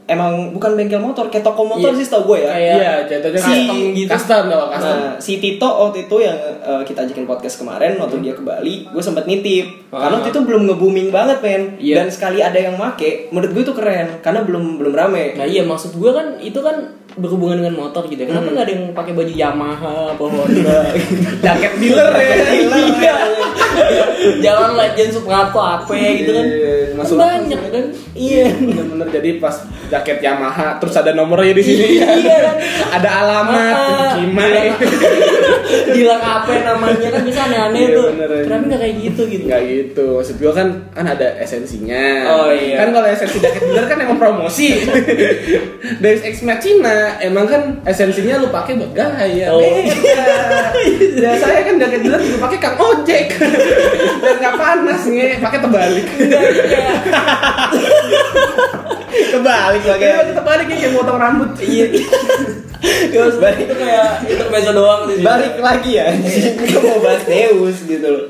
Speaker 3: emang bukan bengkel motor kayak toko motor
Speaker 4: Iya.
Speaker 3: sih tau gue ya
Speaker 4: Kayak-
Speaker 5: Iya, jatuhnya
Speaker 3: Si-
Speaker 5: custom gitu. Custom kalau custom.
Speaker 3: Nah, si Tito waktu itu yang eh, kita ajakin podcast kemarin waktu dia ke Bali, gue sempet nitip.
Speaker 4: Hmm. Ah.
Speaker 3: Karena waktu itu belum nge-booming banget, men.
Speaker 4: Iya.
Speaker 3: Dan sekali ada yang make, menurut gue itu keren karena belum belum rame.
Speaker 4: Nah iya maksud gue kan itu kan berhubungan dengan motor gitu. ya. Kenapa nggak ada yang pakai baju Yamaha apa Honda? *laughs* Jaket dealer ya. Iya. Jalan Legend Suprato apa gitu kan?
Speaker 5: Iya, masuk
Speaker 4: Banyak kan? Iya.
Speaker 5: Bener-bener jadi pas jaket Yamaha terus ada nomornya di sini.
Speaker 4: Iya kan?
Speaker 5: *laughs* ada alamat,
Speaker 4: Ah,
Speaker 5: gimana? *laughs*
Speaker 4: Bilang apa namanya kan bisa aneh-aneh
Speaker 5: Iya,
Speaker 4: tuh.
Speaker 5: bener, iya.
Speaker 4: Kenapa nggak kayak gitu gitu?
Speaker 5: Enggak gitu, maksud gue kan kan ada esensinya.
Speaker 4: Oh, iya.
Speaker 5: Kan kalau esensi jaket dealer kan emang
Speaker 4: *laughs*
Speaker 5: promosi. Dari Ex Machina emang kan esensinya lu pakai buat gaya.
Speaker 4: Oh.
Speaker 5: Ya saya kan jaket dealer juga pakai kang ojek. *laughs* Dan nggak panas nge, pakai terbalik.
Speaker 3: Kebalik lagi.
Speaker 5: Kayak pakai terbalik ya, kayak potong rambut. Iya.
Speaker 4: Ya, maksud gua itu kayak intermezzo doang sih.
Speaker 3: Balik lagi ya. Gue mau bahas Deus gitu loh.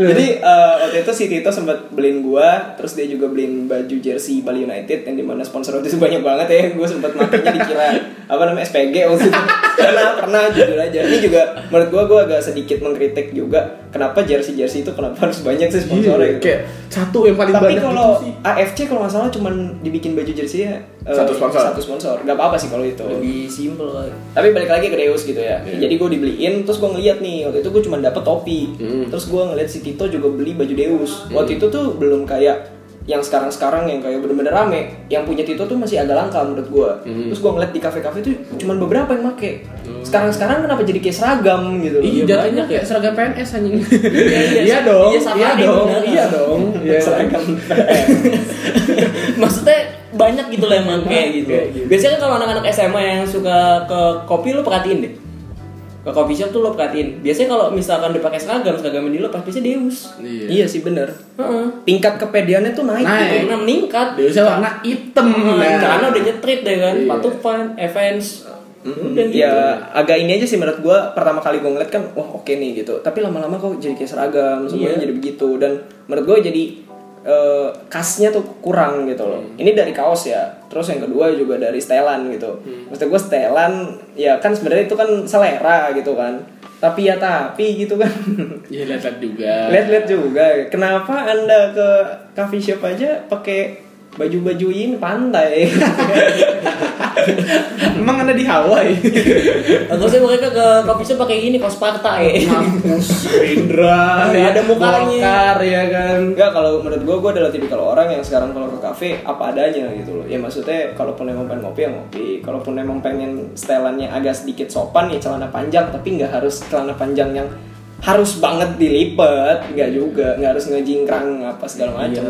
Speaker 5: Iya.
Speaker 3: Jadi eh, waktu itu si Tito sempat beliin gua, terus dia juga beliin baju jersey Bali United yang dimana sponsor waktu itu banyak banget ya. Gua sempat makanya dikira apa namanya SPG waktu itu. Karena pernah jujur aja. Ini juga menurut gua gua agak sedikit mengkritik juga kenapa jersey jersey itu kenapa harus banyak sih sponsornya gitu.
Speaker 5: Iya, kayak satu yang paling
Speaker 3: Tapi
Speaker 5: banyak itu
Speaker 3: kalau
Speaker 5: sih.
Speaker 3: AFC kalau nggak salah cuman dibikin baju jersey
Speaker 5: Satu sponsor.
Speaker 3: Satu sponsor. Gak apa-apa sih kalau itu.
Speaker 4: lebih simple kali.
Speaker 3: tapi balik lagi ke Deus gitu ya
Speaker 5: Iya.
Speaker 3: jadi gue dibeliin terus gue ngeliat nih waktu itu gue cuma dapet topi
Speaker 5: Hmm.
Speaker 3: terus gue ngeliat si Tito juga beli baju Deus waktu itu tuh belum kayak yang sekarang-sekarang yang kayak bener-bener rame yang punya Tito tuh masih agak langka menurut gue
Speaker 5: Hmm. Oh.
Speaker 3: terus gue ngeliat di kafe-kafe tuh cuman beberapa yang make sekarang-sekarang kenapa jadi kayak seragam gitu loh
Speaker 5: Iya jatuhnya kayak seragam PNS anjing. *laughs* Iya,
Speaker 4: iya, sa-
Speaker 5: dong.
Speaker 4: iya, sama
Speaker 5: Iya
Speaker 4: aja
Speaker 5: dong.
Speaker 4: beneran.
Speaker 5: Iya dong. *laughs* Iya.
Speaker 3: seragam
Speaker 4: *laughs* Maksudnya banyak gitu lah
Speaker 5: Iya,
Speaker 4: emang kayak gitu.
Speaker 3: Kayak gitu.
Speaker 4: Biasanya kan kalau anak-anak SMA yang suka ke kopi lo perhatiin deh. Ke coffee shop tuh lo perhatiin. Biasanya kalau misalkan dipakai seragam, seragam yang dilepas biasanya Deus.
Speaker 5: Iya.
Speaker 3: iya sih bener
Speaker 4: Heeh.
Speaker 3: tingkat kepediannya tuh naik,
Speaker 5: Naik.
Speaker 3: gitu.
Speaker 4: Karena meningkat.
Speaker 5: Deusnya warna hitam.
Speaker 4: Nah,
Speaker 5: Eh. nah.
Speaker 4: Karena udah nyetrit deh kan,
Speaker 5: Iya. Mm-hmm,
Speaker 4: patu fan, events. Udah gitu.
Speaker 3: ya agak ini aja sih menurut gue pertama kali gue ngeliat kan wah oke nih gitu tapi lama-lama kok jadi kayak seragam semuanya
Speaker 4: Iya.
Speaker 3: jadi begitu dan menurut gue jadi eh, khasnya tuh kurang gitu loh ini dari kaos ya terus yang kedua juga dari setelan gitu maksud gue setelan ya kan sebenarnya itu kan selera gitu kan tapi ya tapi gitu kan
Speaker 5: Iya lihat-lihat juga.
Speaker 3: lihat-lihat juga kenapa anda ke coffee shop aja pakai baju-bajuin pantai *laughs*
Speaker 5: Emang anda di Hawaii?
Speaker 4: Aku sih mereka ke coffee shop pakai gini, kaos parta ya.
Speaker 5: Mampus,
Speaker 3: Iya,
Speaker 5: Indra,
Speaker 4: Nggak ya, ada mukanya.
Speaker 5: Golkar, ya kan.
Speaker 3: Enggak, kalau menurut gue, gue adalah tipikal orang yang sekarang kalau ke kafe apa adanya gitu loh. Ya maksudnya, kalaupun emang pengen ngopi ya ngopi. Kalaupun emang pengen setelannya agak sedikit sopan ya celana panjang. Tapi nggak harus celana panjang yang harus banget dilipet. Nggak juga, nggak harus ngejingkrang apa
Speaker 4: Iya.
Speaker 3: segala macam.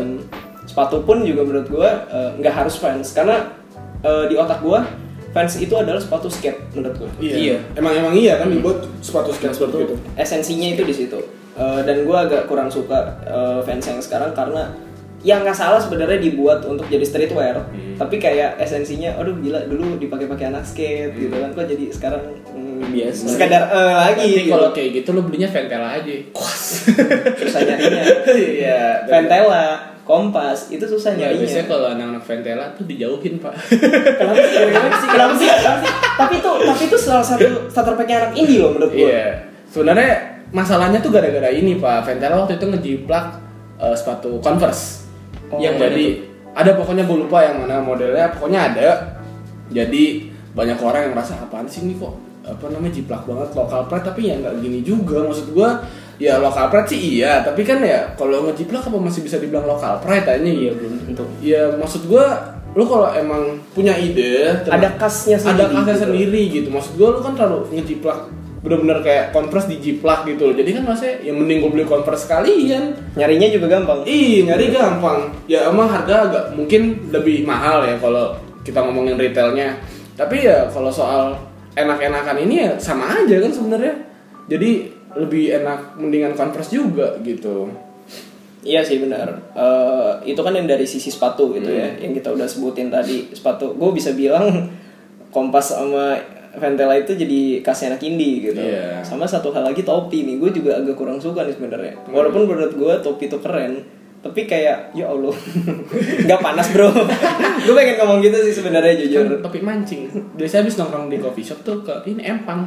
Speaker 3: Sepatu pun juga menurut gue eh, nggak harus fans. Karena eh, di otak gue, fans itu adalah sepatu skate menurut gue
Speaker 4: Iya.
Speaker 5: Emang emang iya kan dibuat sepatu gitu. skate seperti itu.
Speaker 3: Gitu. esensinya itu di situ Eh, dan gue agak kurang suka eh, fans yang sekarang karena yang nggak salah sebenarnya dibuat untuk jadi streetwear
Speaker 5: Hmm.
Speaker 3: tapi kayak esensinya aduh gila dulu dipakai-pakai anak skate gitu
Speaker 5: Hmm.
Speaker 3: kan kok jadi sekarang mm,
Speaker 4: Biasa.
Speaker 3: sekadar eh, lagi
Speaker 5: Tapi
Speaker 3: gitu.
Speaker 5: kalau kayak gitu lo belinya Ventela aja.
Speaker 3: susah nyarinya
Speaker 5: *laughs* Iya.
Speaker 3: Ventela kompas itu susah
Speaker 5: Ya,
Speaker 3: nyarinya
Speaker 5: biasanya kalau anak-anak Ventela tuh dijauhin pak. *laughs*
Speaker 3: kenapa sih Kenapa sih? Kenapa sih? Kenapa sih? tapi itu tapi itu salah satu starter pack anak indie loh menurut gue
Speaker 5: Iya. Sebenarnya masalahnya tuh gara-gara ini pak. Ventela waktu itu ngejiplak eh, sepatu Converse.
Speaker 4: Oh.
Speaker 5: yang
Speaker 4: Yang mana
Speaker 5: jadi ada pokoknya gue lupa yang mana modelnya. Pokoknya ada. Jadi banyak orang yang merasa apaan sih ini kok apa namanya jiplak banget lokal pride tapi ya nggak gini juga maksud gue ya lokal pride sih iya tapi kan ya kalau ngejiplak apa masih bisa dibilang lokal pride tanya
Speaker 4: Iya belum tentu.
Speaker 5: ya maksud gue lu kalau emang punya ide terus-
Speaker 3: Ada khasnya
Speaker 5: ada
Speaker 3: sendiri
Speaker 5: khasnya
Speaker 3: gitu.
Speaker 5: sendiri gitu maksud gue lu kan terlalu ngejiplak bener-bener kayak converse dijiplak gitu loh jadi kan maksudnya ya mending gue beli converse sekalian
Speaker 3: nyarinya juga gampang
Speaker 5: ih nyari gampang ya emang harga agak mungkin lebih mahal ya kalau kita ngomongin retailnya tapi ya kalau soal enak-enakan ini ya sama aja kan sebenarnya jadi lebih enak mendingan converse juga gitu
Speaker 3: Iya sih benar. Eh, itu kan yang dari sisi sepatu gitu ya,
Speaker 5: Hmm.
Speaker 3: yang kita udah sebutin tadi sepatu. Gue bisa bilang kompas sama Ventela itu jadi kasih anak indie gitu.
Speaker 5: Iya.
Speaker 3: Sama satu hal lagi topi nih, gue juga agak kurang suka nih sebenarnya.
Speaker 5: Hmm.
Speaker 3: Walaupun menurut gue topi itu keren, tapi kayak ya Allah, *laughs* nggak panas bro. *laughs* gue pengen ngomong gitu sih sebenarnya
Speaker 5: kan
Speaker 3: jujur.
Speaker 5: topik mancing biasanya habis nongkrong di coffee shop tuh ke ini
Speaker 3: *laughs*
Speaker 5: empang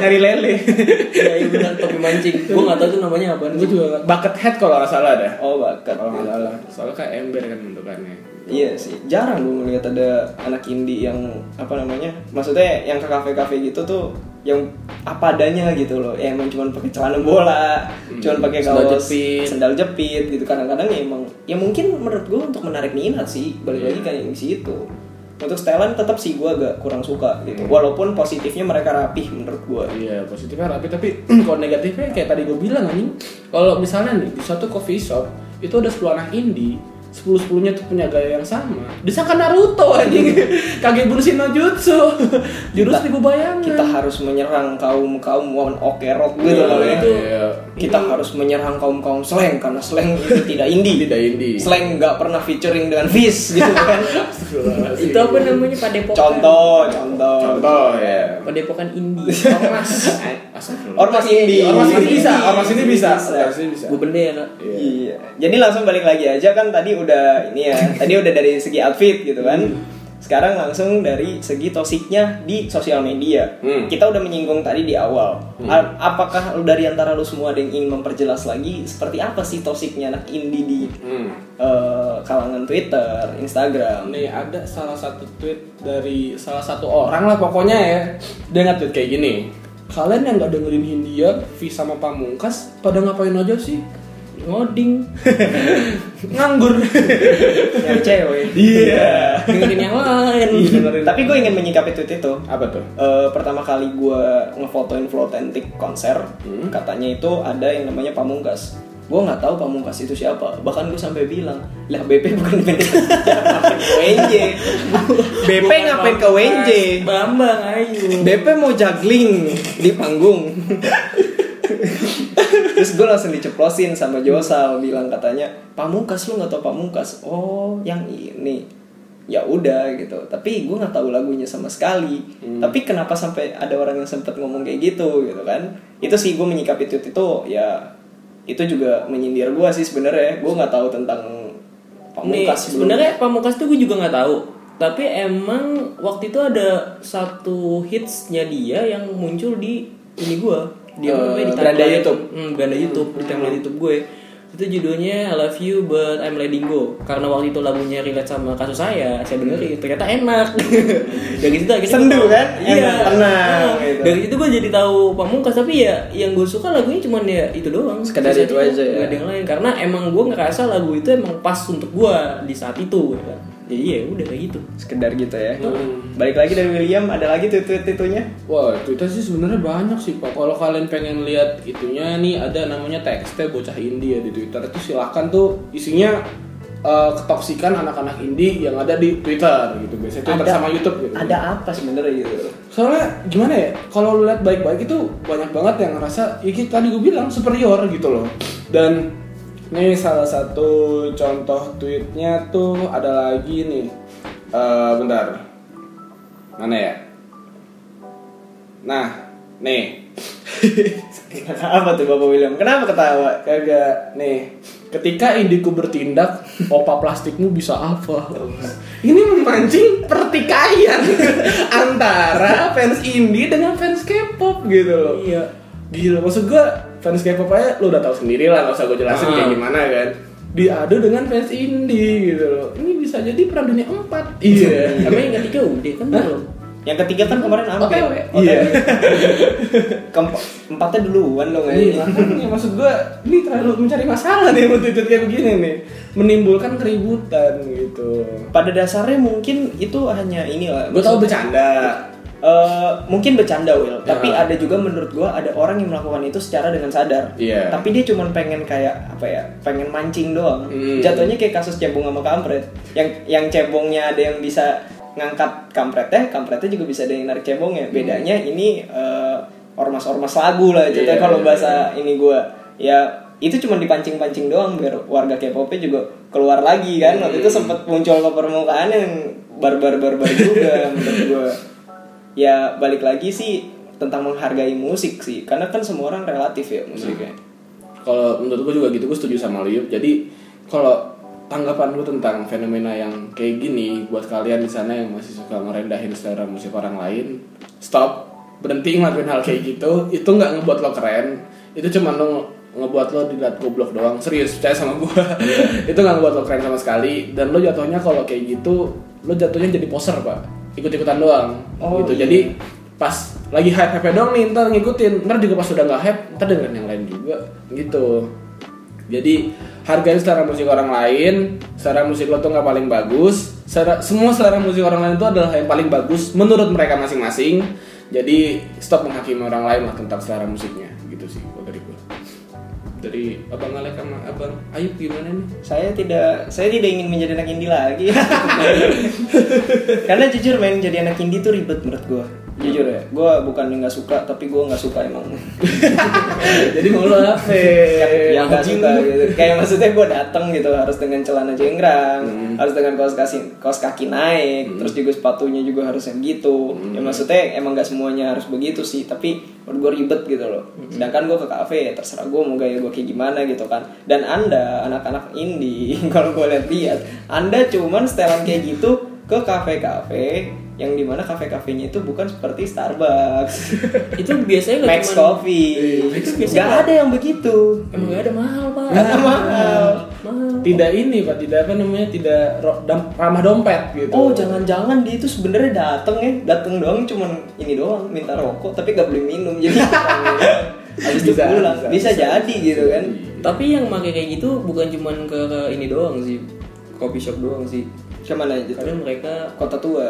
Speaker 5: nyari lele
Speaker 4: *laughs* Iya iya benar topi mancing. Gue nggak tahu itu namanya apa.
Speaker 5: gue juga nggak- bucket head kalau nggak salah dah
Speaker 3: Oh bakat.
Speaker 5: kalau nggak salah soalnya kayak ember kan bentukannya
Speaker 3: Iya sih, jarang gue ngeliat ada anak indie yang apa namanya, maksudnya yang ke kafe-kafe gitu tuh yang apa adanya gitu loh, ya, emang cuman pakai celana bola, cuman pakai
Speaker 5: Hmm. sendal
Speaker 3: kaos
Speaker 5: jepit.
Speaker 3: sendal jepit gitu kadang-kadang ya emang ya mungkin menurut gue untuk menarik minat sih balik
Speaker 5: Iya.
Speaker 3: lagi kayak di situ. Untuk setelan tetap sih gue agak kurang suka gitu,
Speaker 5: Hmm.
Speaker 3: walaupun positifnya mereka rapih menurut gue.
Speaker 5: iya positifnya rapi tapi *clears throat* kalau negatifnya kayak tadi gue bilang anjing kalau misalnya nih di suatu coffee shop itu ada 10 anak indie 10 10-nya tuh punya gaya yang sama. Bisa kan Naruto anjing. *laughs* Kagebunshin no Jutsu. *laughs* Jurus
Speaker 3: Kita-
Speaker 5: ribu bayangan.
Speaker 3: Kita harus menyerang kaum kaum one ok rock gitu
Speaker 5: Iya,
Speaker 3: loh ya.
Speaker 5: iya.
Speaker 3: Kita harus menyerang kaum kaum slang karena slang itu tidak indie.
Speaker 5: Tidak indie.
Speaker 3: Slang nggak pernah featuring dengan Fizz gitu kan.
Speaker 5: *laughs* Astagfirullahaladzim.
Speaker 4: Itu apa namanya Padepokan?
Speaker 3: contoh, contoh.
Speaker 5: Contoh ya.
Speaker 4: Padepokan Indie.
Speaker 5: Thomas. Astagfirullah.
Speaker 3: Ormas Indi.
Speaker 5: Iya, Ormas ini bisa, ormas ini
Speaker 3: Indi
Speaker 5: bisa. Ormas ini bisa.
Speaker 4: Gue bendera.
Speaker 5: Iya.
Speaker 3: Iya. Jadi langsung balik lagi aja kan tadi udah
Speaker 5: *laughs*
Speaker 3: ini ya. tadi udah dari segi outfit gitu kan. Sekarang langsung dari segi tosiknya di sosial media.
Speaker 5: Hmm.
Speaker 3: Kita udah menyinggung tadi di awal. A- Apakah lu dari antara lu semua ada yang ingin memperjelas lagi seperti apa sih tosiknya anak indie di
Speaker 5: Hmm.
Speaker 3: eh, kalangan Twitter,
Speaker 5: *laughs*
Speaker 3: Instagram?
Speaker 5: Nih ada salah satu tweet dari salah satu orang lah pokoknya ya. Dia nge-tweet kayak gini. Kalian yang nggak dengerin Hindia, V sama Pamungkas, pada ngapain aja sih?
Speaker 4: Ngoding.
Speaker 5: Nganggur.
Speaker 3: Yang cewek. Iya.
Speaker 5: Iya.
Speaker 4: Dengerin yang lain.
Speaker 3: Tapi gue ingin menyikapi tweet itu.
Speaker 5: Apa tuh?
Speaker 3: Eh, pertama kali gue ngefotoin Flotentik konser, katanya itu ada yang namanya Pamungkas. Gue nggak tahu Pamungkas itu siapa. Bahkan gue sampai bilang, lah BP bukan *laughs* BP ngapain ke WNJ. BP ngapain ke WNJ?
Speaker 4: Bambang ayo.
Speaker 3: BP mau juggling di panggung. Terus gue langsung diceplosin sama Josal bilang katanya Pamungkas lu nggak tau Pamungkas? Oh yang ini ya udah gitu tapi gue nggak tahu lagunya sama sekali
Speaker 4: Hmm.
Speaker 3: tapi kenapa sampai ada orang yang sempet ngomong kayak gitu gitu kan itu sih gue menyikapi tweet itu ya itu juga menyindir gue sih sebenarnya gue nggak tahu tentang
Speaker 4: Nih,
Speaker 3: pamungkas sebelumnya.
Speaker 4: sebenarnya Pamungkas tuh gue juga nggak tahu. Tapi emang waktu itu ada satu hitsnya dia yang muncul di ini gue.
Speaker 3: Eh,
Speaker 4: Dia apa namanya, di
Speaker 3: beranda
Speaker 4: timeline-
Speaker 3: YouTube.
Speaker 4: Hmm, beranda YouTube di timeline YouTube gue. Itu judulnya I Love You But I'm Letting Go Karena waktu itu lagunya relate sama kasus saya Saya dengerin, ternyata enak *laughs* Dari situ akhirnya
Speaker 3: Sendu,
Speaker 4: gua-
Speaker 3: kan?
Speaker 4: Iya
Speaker 3: Enak, tenang,
Speaker 4: Nah,
Speaker 3: gitu.
Speaker 4: Dari situ gue jadi tahu Pamungkas Tapi ya yang gue suka lagunya cuman ya itu doang
Speaker 3: Sekedar
Speaker 4: Sisa
Speaker 3: itu
Speaker 4: juga
Speaker 3: aja ya.
Speaker 4: nggak ada yang lain karena emang gue ngerasa lagu itu emang pas untuk gue di saat itu ya kan jadi ya udah kayak gitu
Speaker 3: sekedar gitu ya
Speaker 4: Hmm.
Speaker 3: balik lagi dari William ada lagi tweet-tweet itunya
Speaker 5: Wah, Twitter sih sebenarnya banyak sih Pak. Kalau kalian pengen lihat itunya nih ada namanya TXT Bocah Indie ya di Twitter itu silakan tuh isinya eh, ketoksikan anak-anak indie yang ada di Twitter gitu. Biasanya Twitter
Speaker 3: Ada-
Speaker 5: sama YouTube gitu.
Speaker 3: ada apa sebenarnya gitu
Speaker 5: Soalnya gimana ya? Kalau lu lihat baik-baik itu banyak banget yang ngerasa ya kita tadi gue bilang superior gitu loh. Dan nih salah satu contoh tweetnya tuh ada lagi nih. Eh, bentar. Mana ya? Nah, *laughs* nih
Speaker 3: apa tuh Bapak William kenapa ketawa
Speaker 5: kagak nih. Ketika indiku bertindak, opa plastikmu bisa apa? Ini memancing pertikaian *laughs* antara fans indie dengan fans K-pop gitu loh.
Speaker 4: iya
Speaker 5: Gila, maksud gua fans K-pop aja lo udah tahu sendiri lah, gak usah gue jelasin
Speaker 4: Ah.
Speaker 5: kayak gimana kan. Diadu dengan fans indie gitu loh. Ini bisa jadi perang dunia 4. *laughs* Iya.
Speaker 4: tapi yang ketiga udah kan belum
Speaker 3: yang ketiga kan kemarin apa
Speaker 5: OTW.
Speaker 3: iya
Speaker 5: Iya.
Speaker 3: *laughs* empatnya duluan ya. lo
Speaker 5: Iya,
Speaker 3: kayaknya
Speaker 5: makanya maksud gua ini terlalu mencari masalah nih buat tweet kayak begini nih. Menimbulkan keributan gitu.
Speaker 3: pada dasarnya mungkin itu hanya inilah
Speaker 5: Gue tau bercanda.
Speaker 3: Eh, mungkin bercanda Will, tapi
Speaker 5: Ya.
Speaker 3: ada juga menurut gua ada orang yang melakukan itu secara dengan sadar.
Speaker 5: Iya.
Speaker 3: Tapi dia cuman pengen kayak apa ya? Pengen mancing doang.
Speaker 5: Hmm.
Speaker 3: Jatuhnya kayak kasus cebong sama kampret. Yang yang cebongnya ada yang bisa ngangkat kampretnya, kampretnya juga bisa ada yang narik cebongnya. Bedanya ini eh, ormas-ormas lagu lah jatuhnya
Speaker 5: Iya,
Speaker 3: kalau
Speaker 5: iya,
Speaker 3: bahasa ini gua. Ya itu cuman dipancing-pancing doang biar warga K-popnya juga keluar lagi kan.
Speaker 5: Iya,
Speaker 3: Waktu itu sempet muncul ke permukaan yang barbar-barbar juga
Speaker 5: *laughs*
Speaker 3: menurut gua ya balik lagi sih tentang menghargai musik sih karena kan semua orang relatif ya musiknya
Speaker 5: Iya. Kalau menurut gue juga gitu, gue setuju sama Liup. Jadi kalau tanggapan lu tentang fenomena yang kayak gini buat kalian di sana yang masih suka merendahin selera musik orang lain, stop, berhenti ngelakuin hal kayak gitu. Itu nggak ngebuat lo keren. Itu cuma lo ngebuat lo dilihat goblok doang. Serius, percaya sama gue.
Speaker 3: Iya.
Speaker 5: *laughs* itu nggak ngebuat lo keren sama sekali. Dan lo jatuhnya kalau kayak gitu, lo jatuhnya jadi poser pak. Ikut-ikutan doang.
Speaker 3: Oh,
Speaker 5: gitu.
Speaker 3: iya.
Speaker 5: Jadi pas lagi hype hype dong nih ntar ngikutin ntar juga pas udah nggak hype ntar dengerin yang lain juga gitu jadi hargain selera musik orang lain selera musik lo tuh nggak paling bagus selera, semua selera musik orang lain itu adalah yang paling bagus menurut mereka masing-masing jadi stop menghakimi orang lain lah tentang selera musiknya gitu sih kalau dari gue dari abang Alek sama abang Ayub gimana nih
Speaker 3: saya tidak saya tidak ingin menjadi anak indie lagi *laughs* karena jujur main jadi anak indie tuh ribet menurut gue
Speaker 5: Iya.
Speaker 3: jujur ya gue bukan yang nggak suka tapi gue nggak suka emang
Speaker 5: jadi mau lo apa
Speaker 3: yang eh, nggak suka gitu. kayak maksudnya gue datang gitu harus dengan celana jenggrang harus dengan kaos kaki kaos kaki naik terus juga sepatunya juga harus yang gitu ya maksudnya emang nggak semuanya harus begitu sih tapi menurut gue ribet gitu loh sedangkan gue ke kafe ya terserah gue mau gaya gue kayak gimana gitu kan dan anda anak-anak indie *laughs* kalau gue lihat-lihat anda cuman setelan kayak gitu ke kafe-kafe yang dimana kafe-kafenya itu bukan seperti Starbucks, *laughs*
Speaker 4: itu biasanya nggak
Speaker 3: Max
Speaker 4: cuman-
Speaker 3: Coffee,
Speaker 4: Itu biasanya
Speaker 3: nggak ada yang begitu.
Speaker 4: Emang gak ada mahal pak.
Speaker 5: Nah,
Speaker 3: Nggak mahal.
Speaker 4: Mahal.
Speaker 5: tidak ini pak tidak apa namanya tidak ro- dam- ramah dompet gitu
Speaker 3: Oh jangan-jangan dia itu sebenarnya dateng ya dateng doang cuman ini doang minta rokok tapi gak beli minum jadi *laughs* habis itu
Speaker 5: Bisa,
Speaker 3: pulang bisa,
Speaker 5: bisa,
Speaker 3: jadi gitu kan
Speaker 4: Tapi yang pakai kayak gitu bukan cuman ke, ke ini doang sih, coffee shop doang sih.
Speaker 3: kemana aja tuh?
Speaker 4: Karena
Speaker 5: *laughs*
Speaker 4: mereka
Speaker 3: kota tua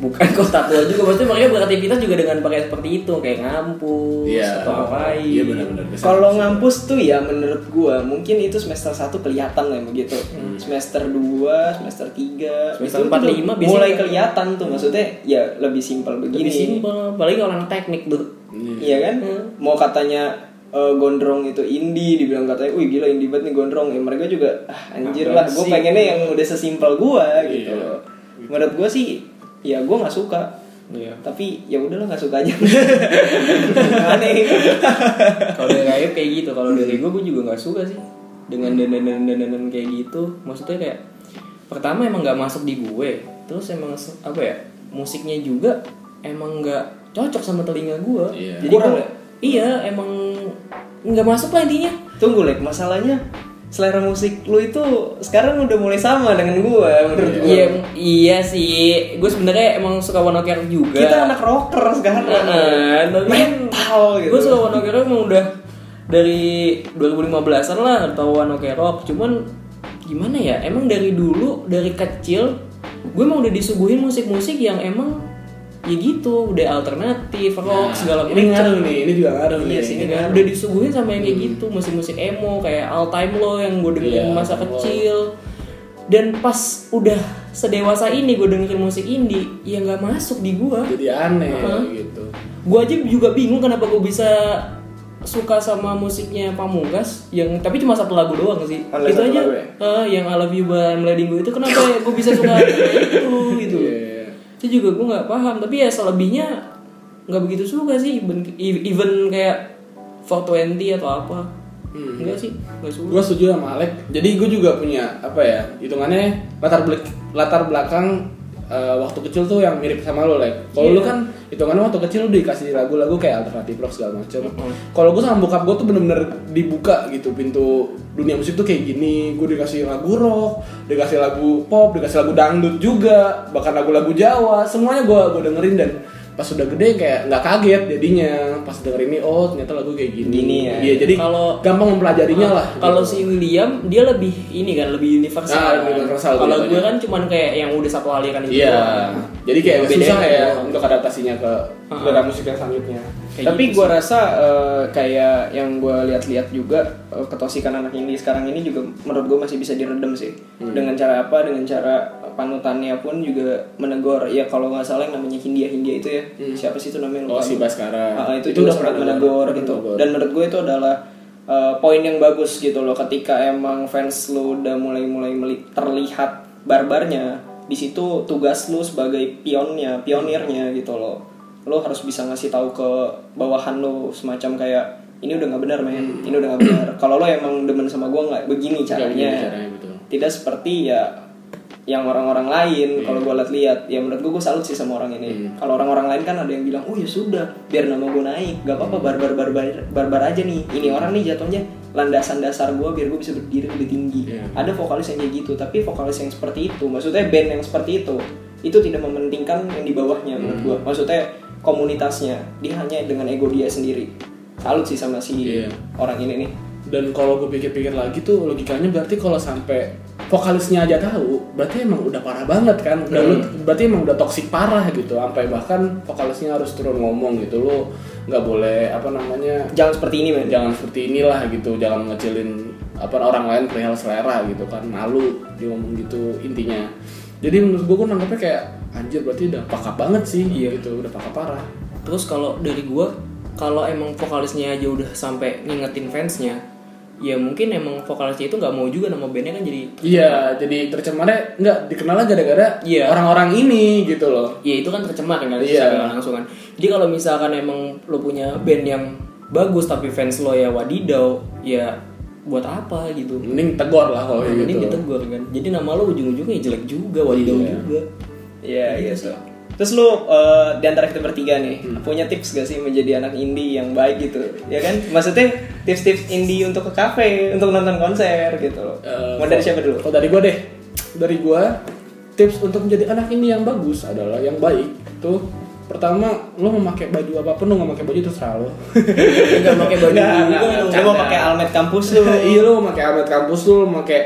Speaker 4: bukan kota tua juga, maksudnya mereka beraktivitas juga dengan pakai seperti itu, kayak ngampus
Speaker 5: Iya.
Speaker 4: atau ngapain.
Speaker 5: Iya benar-benar.
Speaker 3: kalau ngampus tuh ya menurut gua mungkin itu semester 1 kelihatan lah begitu semester 2 semester 3
Speaker 4: Hmm. Semester empat, lima biasanya
Speaker 3: mulai
Speaker 4: kan.
Speaker 3: kelihatan tuh maksudnya ya lebih simpel begini
Speaker 4: lebih simpel, apalagi orang teknik tuh.
Speaker 3: Iya kan? Mau katanya eh, gondrong itu indie, dibilang katanya, wih gila indie banget nih gondrong. Ya mereka juga, ah, anjir lah, gue pengennya yang udah sesimpel gue gitu loh. Menurut gue sih, ya gue nggak suka.
Speaker 4: Iya.
Speaker 3: Tapi ya udahlah nggak suka aja. *laughs* Aneh.
Speaker 4: Kalau dari Raib kayak gitu, kalau dari gue gue juga nggak suka sih dengan dandan dandan kayak gitu. Maksudnya kayak pertama emang nggak masuk di gue, terus emang se- apa ya musiknya juga emang nggak cocok sama telinga gue.
Speaker 5: Iya.
Speaker 4: Jadi
Speaker 3: Kurang
Speaker 4: gua-
Speaker 3: ya?
Speaker 4: iya emang nggak masuk lah intinya.
Speaker 3: Tunggu lek, masalahnya selera musik lu itu sekarang udah mulai sama dengan gue menurut gue.
Speaker 4: Iya iya sih, gue sebenarnya emang suka One Ok Rock juga.
Speaker 3: Kita anak rocker sekarang.
Speaker 4: Heeh, tapi kan
Speaker 3: Metal gitu.
Speaker 4: Gue suka One Ok Rock emang udah dari 2015-an lah atau One Ok Rock. Cuman gimana ya? Emang dari dulu dari kecil gue emang udah disuguhin musik-musik yang emang ya gitu, udah alternatif, rock segala
Speaker 5: Nah, ini ngaruh
Speaker 4: macam. kan?
Speaker 5: nih ini kan. juga ngaruh nih
Speaker 3: Iya sih, ini ngaruh.
Speaker 4: Udah disuguhin sama yang kayak gitu, musik-musik emo kayak All Time Low yang gue dengerin
Speaker 5: Iya,
Speaker 4: masa
Speaker 5: All Time Low.
Speaker 4: kecil. Dan pas udah sedewasa ini gue dengerin musik indie, ya nggak masuk di gue
Speaker 5: jadi aneh
Speaker 4: Heeh.
Speaker 5: gitu
Speaker 4: gue aja juga bingung kenapa gue bisa suka sama musiknya Pamungkas yang tapi cuma satu lagu doang sih
Speaker 5: Ah,
Speaker 3: Ada
Speaker 4: itu
Speaker 3: satu
Speaker 4: aja
Speaker 3: lagu ya?
Speaker 4: eh, yang I Love You by I'm Letting Go itu kenapa
Speaker 5: *laughs*
Speaker 4: ya gue bisa suka sama itu gitu
Speaker 5: Iya.
Speaker 4: itu juga gue nggak paham tapi ya selebihnya nggak begitu suka sih even, even kayak 420 atau apa
Speaker 5: Hmm.
Speaker 4: enggak sih nggak suka
Speaker 5: gue setuju sama Alek jadi gue juga punya apa ya hitungannya latar belak- latar belakang eh, waktu kecil tuh yang mirip sama lo Lek kalau lo
Speaker 4: Iya.
Speaker 5: kan hitungannya waktu kecil lo dikasih lagu-lagu kayak alternatif rock segala macem
Speaker 4: Mm-mm.
Speaker 5: kalau gue sama bokap gue tuh bener-bener dibuka gitu pintu dunia musik tuh kayak gini gue dikasih lagu rock dikasih lagu pop dikasih lagu dangdut juga bahkan lagu-lagu Jawa semuanya gue gue dengerin dan pas udah gede kayak nggak kaget jadinya pas dengerin ini oh ternyata lagu kayak gini
Speaker 3: Gini ya.
Speaker 5: iya jadi
Speaker 4: Kalau-
Speaker 5: gampang mempelajarinya lah
Speaker 4: Kalau
Speaker 5: gitu.
Speaker 4: si William dia lebih ini kan lebih universal.
Speaker 5: Ah,
Speaker 4: kan.
Speaker 5: lebih universal
Speaker 4: Kalau
Speaker 5: dia
Speaker 4: gue
Speaker 5: tadi.
Speaker 4: kan cuman kayak yang udah satu aliran itu.
Speaker 5: Iya.
Speaker 4: doang.
Speaker 5: Jadi kayak
Speaker 4: Yang
Speaker 5: susah
Speaker 4: bedain
Speaker 5: ya
Speaker 4: doang.
Speaker 5: untuk adaptasinya ke selera musik yang selanjutnya.
Speaker 4: Kayak
Speaker 3: Tapi
Speaker 4: gitu
Speaker 3: gua rasa eh, kayak yang gua lihat-lihat juga eh, ketosikan anak ini sekarang ini juga menurut gua masih bisa diredam sih.
Speaker 4: Hmm.
Speaker 3: Dengan cara apa? Dengan cara panutannya pun juga menegur. Ya kalau nggak salah yang namanya Hindia Hindia itu ya.
Speaker 4: Hmm.
Speaker 3: Siapa sih itu namanya?
Speaker 5: Oh,
Speaker 3: Lupa
Speaker 5: si
Speaker 3: gua.
Speaker 5: Baskara.
Speaker 3: Ah, itu,
Speaker 5: Itu
Speaker 3: juga
Speaker 5: udah
Speaker 3: sempat
Speaker 5: pernah
Speaker 3: menegur
Speaker 5: menegur.
Speaker 3: gitu.
Speaker 5: Menegur.
Speaker 3: Dan menurut gue itu adalah eh, poin yang bagus gitu loh ketika emang fans lu udah mulai-mulai meli- terlihat barbarnya di situ tugas lu sebagai pionnya pionirnya gitu loh lo harus bisa ngasih tahu ke bawahan lo semacam kayak ini udah nggak benar men ini udah nggak benar kalau lo emang demen sama gua nggak begini caranya,
Speaker 5: begini caranya, betul.
Speaker 3: tidak seperti ya yang orang-orang
Speaker 5: Iya.
Speaker 3: lain kalau gue lihat-lihat ya menurut gue gue salut sih sama orang ini kalau orang-orang lain kan ada yang bilang oh ya sudah biar nama gue naik gak apa-apa barbar barbar barbar aja nih ini orang nih jatuhnya landasan dasar gue biar gue bisa berdiri lebih tinggi
Speaker 5: Iya.
Speaker 3: ada vokalis yang kayak gitu tapi vokalis yang seperti itu maksudnya band yang seperti itu itu tidak mementingkan yang di bawahnya
Speaker 5: Hmm.
Speaker 3: menurut gue maksudnya komunitasnya dia hanya dengan ego dia sendiri salut sih sama si
Speaker 5: Iya.
Speaker 3: orang ini nih
Speaker 5: Dan kalau gue pikir-pikir lagi tuh logikanya berarti kalau sampai vokalisnya aja tahu, berarti emang udah parah banget kan. Udah lu- berarti emang udah toksik parah gitu. Sampai bahkan vokalisnya harus turun ngomong gitu lo nggak boleh apa namanya
Speaker 3: jangan seperti ini men
Speaker 5: jangan seperti inilah gitu jangan ngecilin apa orang lain perihal selera gitu kan malu dia ngomong gitu intinya jadi menurut gue gue nangkepnya kayak anjir berarti udah pakap banget sih gitu udah pakap parah
Speaker 4: Terus kalau dari gue, kalau emang vokalisnya aja udah sampai ngingetin fansnya, ya mungkin emang vokalisnya itu nggak mau juga nama bandnya kan jadi
Speaker 5: iya jadi tercemarnya nggak dikenalnya gara-gara
Speaker 4: Iya.
Speaker 5: orang-orang ini gitu loh
Speaker 4: ya itu kan tercemar kan nggak
Speaker 5: Iya.
Speaker 4: secara langsung kan Jadi kalau misalkan emang lo punya band yang bagus tapi fans lo ya wadidau, ya buat apa gitu.
Speaker 5: mending tegor lah kalau kayak
Speaker 4: Nah,
Speaker 5: gitu
Speaker 4: Ini ditegur kan. Jadi nama lo ujung-ujungnya ya jelek juga, wadidau
Speaker 5: Iya.
Speaker 4: juga.
Speaker 3: Iya, iya so. Terus lu eh, di antara kita bertiga nih, punya tips gak sih menjadi anak indie yang baik gitu? Ya kan? Maksudnya tips-tips indie untuk ke kafe, untuk nonton konser gitu loh.
Speaker 5: Eh,
Speaker 3: Mau dari siapa dulu?
Speaker 5: kalau dari gue deh dari gue tips untuk menjadi anak ini yang bagus adalah yang baik tuh pertama lo mau pakai baju apapun lo nggak pakai baju terserah lo
Speaker 4: Enggak pakai baju
Speaker 5: *laughs* Nggak,
Speaker 4: juga.
Speaker 5: nggak,
Speaker 4: lo.
Speaker 5: nggak.
Speaker 3: Lu mau pakai almet kampus lu.
Speaker 5: *laughs* iya lo mau pakai almet kampus lo mau pakai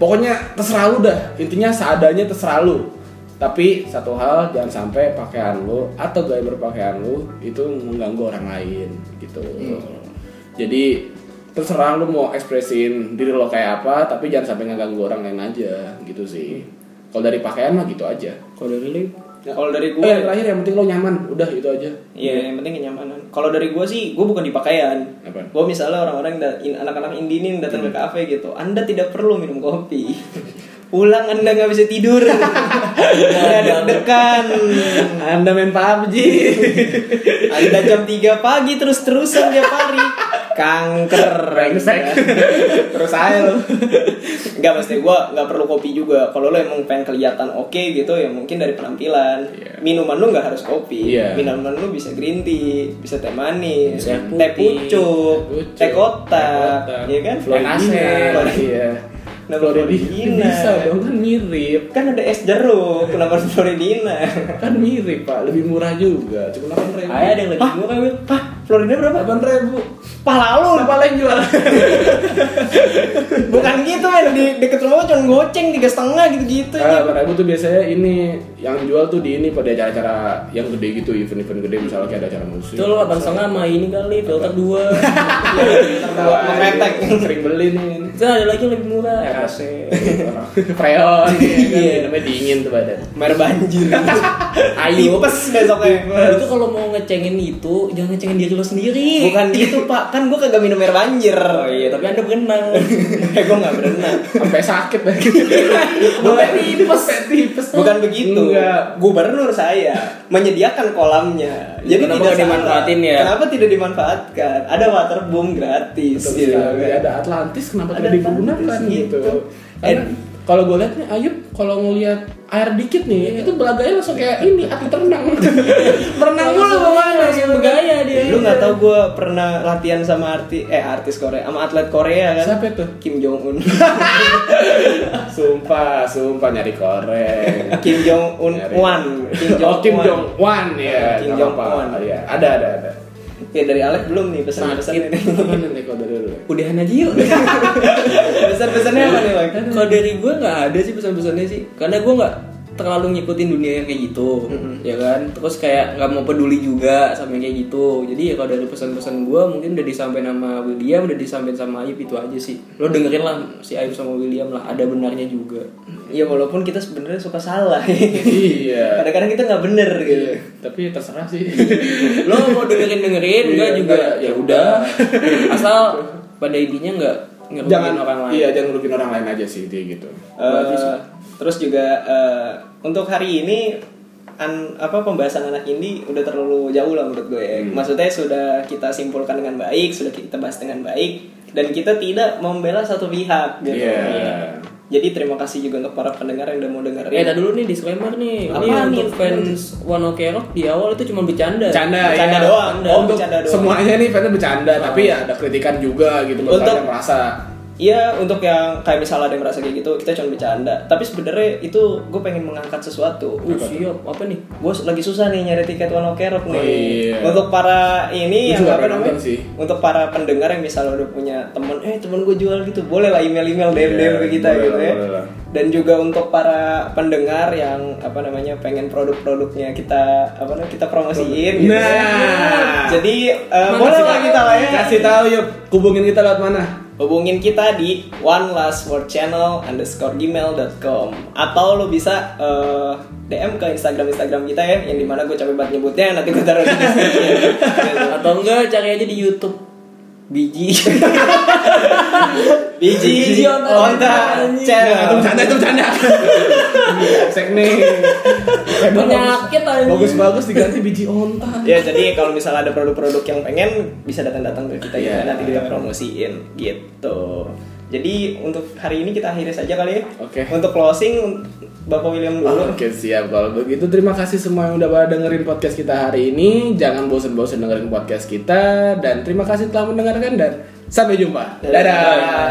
Speaker 5: pokoknya terserah lo dah intinya seadanya terserah lo tapi satu hal jangan sampai pakaian lo atau gaya berpakaian lo itu mengganggu orang lain gitu
Speaker 3: Iya.
Speaker 5: jadi terserah lo mau ekspresin diri lo kayak apa tapi jangan sampai ngeganggu orang lain aja gitu sih kalau dari pakaian mah gitu aja
Speaker 4: Kalau dari lo
Speaker 3: Kalau dari
Speaker 5: Eh, yang
Speaker 3: gue,
Speaker 5: terakhir yang penting lo nyaman udah itu aja
Speaker 3: Iya, yang penting kenyamanan. Kalau dari gue sih, gue bukan di pakaian.
Speaker 5: Apa?
Speaker 3: Gue misalnya orang-orang yang da- in- anak-anak indie ini yang datang ke kafe gitu, anda tidak perlu minum kopi. *laughs* Pulang anda nggak bisa tidur, anda deg-degan,
Speaker 5: anda main PUBG
Speaker 3: anda jam 3 pagi terus-terusan tiap hari, kanker. gitu kan.
Speaker 5: Brengsek.
Speaker 3: terus aja lo. Gak pasti gue nggak perlu kopi juga. Kalau lo emang pengen kelihatan oke gitu, ya mungkin dari penampilan.
Speaker 5: Iya.
Speaker 3: Minuman lo nggak harus kopi.
Speaker 5: Iya.
Speaker 3: Minuman lo bisa green tea, bisa teh manis,
Speaker 4: Teh putih,
Speaker 3: teh pucuk, teh kotak, ya kan?
Speaker 5: Florida
Speaker 3: Florida.
Speaker 5: iya
Speaker 3: Nama Floridina.
Speaker 5: Floridina bisa dong kan mirip
Speaker 3: Kan ada es jeruk, kenapa harus Floridina?
Speaker 5: kan mirip pak lebih murah juga cuma delapan ribu
Speaker 4: Ayo ada yang lebih gue kan Wil.
Speaker 3: Hah, Florida berapa?
Speaker 5: delapan ribu
Speaker 3: Pahlawan,
Speaker 5: paling jual
Speaker 3: *laughs* bukan gitu men di deket rumah cuma goceng tiga setengah gitu-gitu. ya.
Speaker 5: delapan ribu Eh, tuh biasanya ini yang jual tuh di ini pada acara-acara yang gede gitu event-event gede misalnya kayak ada acara musik
Speaker 4: Itu lo abang setengah sama ini kali, filter dua.
Speaker 3: Buat memepek.
Speaker 5: *laughs* sering beli nih
Speaker 4: Itu ada lagi yang lebih murah.
Speaker 5: Iya,
Speaker 4: RAC.
Speaker 5: freon ya kan,
Speaker 3: Iya.
Speaker 5: namanya dingin tuh badan
Speaker 3: Mer banjir.
Speaker 4: Ayo.
Speaker 3: Tipes besoknya.
Speaker 4: Itu kalau mau ngecengin itu, jangan ngecengin diri lo sendiri.
Speaker 3: Bukan gitu pak, kan gue kagak minum air banjir
Speaker 4: Oh iya, tapi anda berenang.
Speaker 3: *laughs* Eh gue gak berenang
Speaker 5: sampai sakit *laughs* lagi
Speaker 3: Bukan
Speaker 5: tipes Gitu, tipes
Speaker 3: Bukan begitu
Speaker 5: Enggak.
Speaker 3: Gubernur saya menyediakan kolamnya Jadi tidak
Speaker 4: Kenapa nggak
Speaker 3: salah.
Speaker 4: dimanfaatin ya?
Speaker 3: Kenapa tidak dimanfaatkan? Ada waterboom gratis gitu kan.
Speaker 5: Iya. ada Atlantis kenapa
Speaker 3: Ada
Speaker 5: tidak digunakan
Speaker 3: Atlantis,
Speaker 5: gitu
Speaker 3: gitu.
Speaker 5: Karena
Speaker 3: And-
Speaker 5: kalau gue lihat nih Ayub kalau ngelihat air dikit nih itu belaganya langsung kayak ini atlet renang Iya. *laughs* berenang mulu
Speaker 4: Langsung-
Speaker 5: kemana
Speaker 4: langsung bergaya
Speaker 5: Iya,
Speaker 4: dia.
Speaker 3: Lu nggak tahu gue pernah latihan sama arti eh artis Korea sama atlet Korea kan?
Speaker 5: Siapa itu? Iya,
Speaker 3: Kim Jong
Speaker 5: *laughs*
Speaker 3: Un.
Speaker 5: sumpah sumpah nyari korek
Speaker 3: Kim Jong Un
Speaker 5: iya. Nyari.
Speaker 3: Wan.
Speaker 5: Oh, Kim Jong Un ya
Speaker 3: Kim
Speaker 5: nggak
Speaker 3: Jong
Speaker 5: apa-apa.
Speaker 3: Un.
Speaker 5: Iya, ada ada ada
Speaker 3: Ya dari Alek belum nih pesan-pesan ini. *laughs*
Speaker 5: Gimana nih kalau dari lu?
Speaker 4: Udahan aja
Speaker 5: *laughs*
Speaker 4: yuk.
Speaker 3: Pesan-pesannya apa nih, Bang?
Speaker 4: Kalau dari gue nggak ada sih pesan-pesannya sih, karena gue nggak terlalu ngikutin dunia yang kayak gitu, ya kan. Terus kayak nggak mau peduli juga sama yang kayak gitu. Jadi ya kalau dari pesan-pesan gue mungkin udah disampaikan sama William, udah disampaikan sama Ayub itu aja sih. Lo dengerin lah si Ayub sama William lah, ada benarnya juga.
Speaker 3: Ya walaupun kita sebenarnya suka salah.
Speaker 5: iya
Speaker 3: *laughs* Kadang-kadang kita nggak bener gitu.
Speaker 5: Iya, tapi terserah sih
Speaker 4: Lo mau dengerin dengerin,
Speaker 5: Iya,
Speaker 4: enggak juga
Speaker 5: enggak,
Speaker 4: ya
Speaker 5: ya
Speaker 4: udah.
Speaker 5: udah.
Speaker 4: Asal pada intinya nggak ngerugiin
Speaker 5: jangan
Speaker 4: orang lain.
Speaker 5: iya jangan rugiin orang lain aja sih dia gitu
Speaker 3: Eh, terus juga eh, untuk hari ini an- apa pembahasan anak indie udah terlalu jauh lah menurut gue. ya. Maksudnya sudah kita simpulkan dengan baik, sudah kita bahas dengan baik dan kita tidak membela satu pihak gitu.
Speaker 5: Iya.
Speaker 3: Jadi terima kasih juga untuk para pendengar yang udah mau dengerin.
Speaker 4: Eh, tadi dulu nih disclaimer nih.
Speaker 3: Apa
Speaker 4: Ini
Speaker 3: nih?
Speaker 4: untuk fans One Ok Rock di awal itu cuma bercanda.
Speaker 5: bercanda,
Speaker 3: Bercanda
Speaker 5: iya.
Speaker 3: doang.
Speaker 5: Oh,
Speaker 3: Bercanda
Speaker 5: untuk
Speaker 3: doang.
Speaker 5: semuanya nih fans bercanda tapi ya ada kritikan juga gitu buat
Speaker 3: Untuk-
Speaker 5: kalian yang merasa
Speaker 3: Iya untuk yang kayak misalnya ada yang merasa kayak gitu kita cuma bercanda. Tapi sebenarnya itu gue pengen mengangkat sesuatu.
Speaker 4: Uh, siap. Apa nih?
Speaker 3: gue lagi susah nih nyari tiket One Ok Rock nih.
Speaker 5: Oh, iya.
Speaker 3: Untuk para ini
Speaker 5: Gua
Speaker 3: yang
Speaker 5: juga
Speaker 3: apa
Speaker 5: pengen
Speaker 3: namanya?
Speaker 5: nonton sih.
Speaker 3: Untuk para pendengar yang misalnya udah punya temen, eh temen gue jual gitu, boleh lah email email DM DM
Speaker 5: Iya,
Speaker 3: ke kita
Speaker 5: boleh
Speaker 3: gitu
Speaker 5: lah,
Speaker 3: ya.
Speaker 5: boleh lah.
Speaker 3: Dan juga untuk para pendengar yang apa namanya pengen produk-produknya kita apa namanya kita promosiin gitu. ya.
Speaker 5: Nah.
Speaker 3: Jadi eh, boleh lah kita lah ya.
Speaker 5: kasih tahu yuk hubungin kita lewat mana
Speaker 3: Hubungin kita di one last word channel underscore gmail.com atau lo bisa eh, DM ke Instagram Instagram kita ya yang dimana gue capek banget nyebutnya nanti gue taruh di description.
Speaker 4: Atau enggak cari aja di YouTube
Speaker 5: *laughs*
Speaker 3: biji biji onta
Speaker 5: Itu
Speaker 3: channel
Speaker 5: bercanda, itu *laughs* bercanda. Sekne. Hebat,
Speaker 4: Penyakit
Speaker 5: bagus.
Speaker 4: anjing.
Speaker 5: Bagus-bagus diganti biji onta.
Speaker 3: ya jadi kalau misalnya ada produk-produk yang pengen bisa datang-datang ke kita
Speaker 5: Iya.
Speaker 3: ya nanti kita promosiin gitu jadi untuk hari ini kita akhiri saja kali ya
Speaker 5: Oke.
Speaker 3: untuk closing Bapak William dulu
Speaker 5: Oke siap kalau begitu terima kasih semua yang udah pada dengerin podcast kita hari ini jangan bosen-bosen dengerin podcast kita dan terima kasih telah mendengarkan dan sampai jumpa dadah.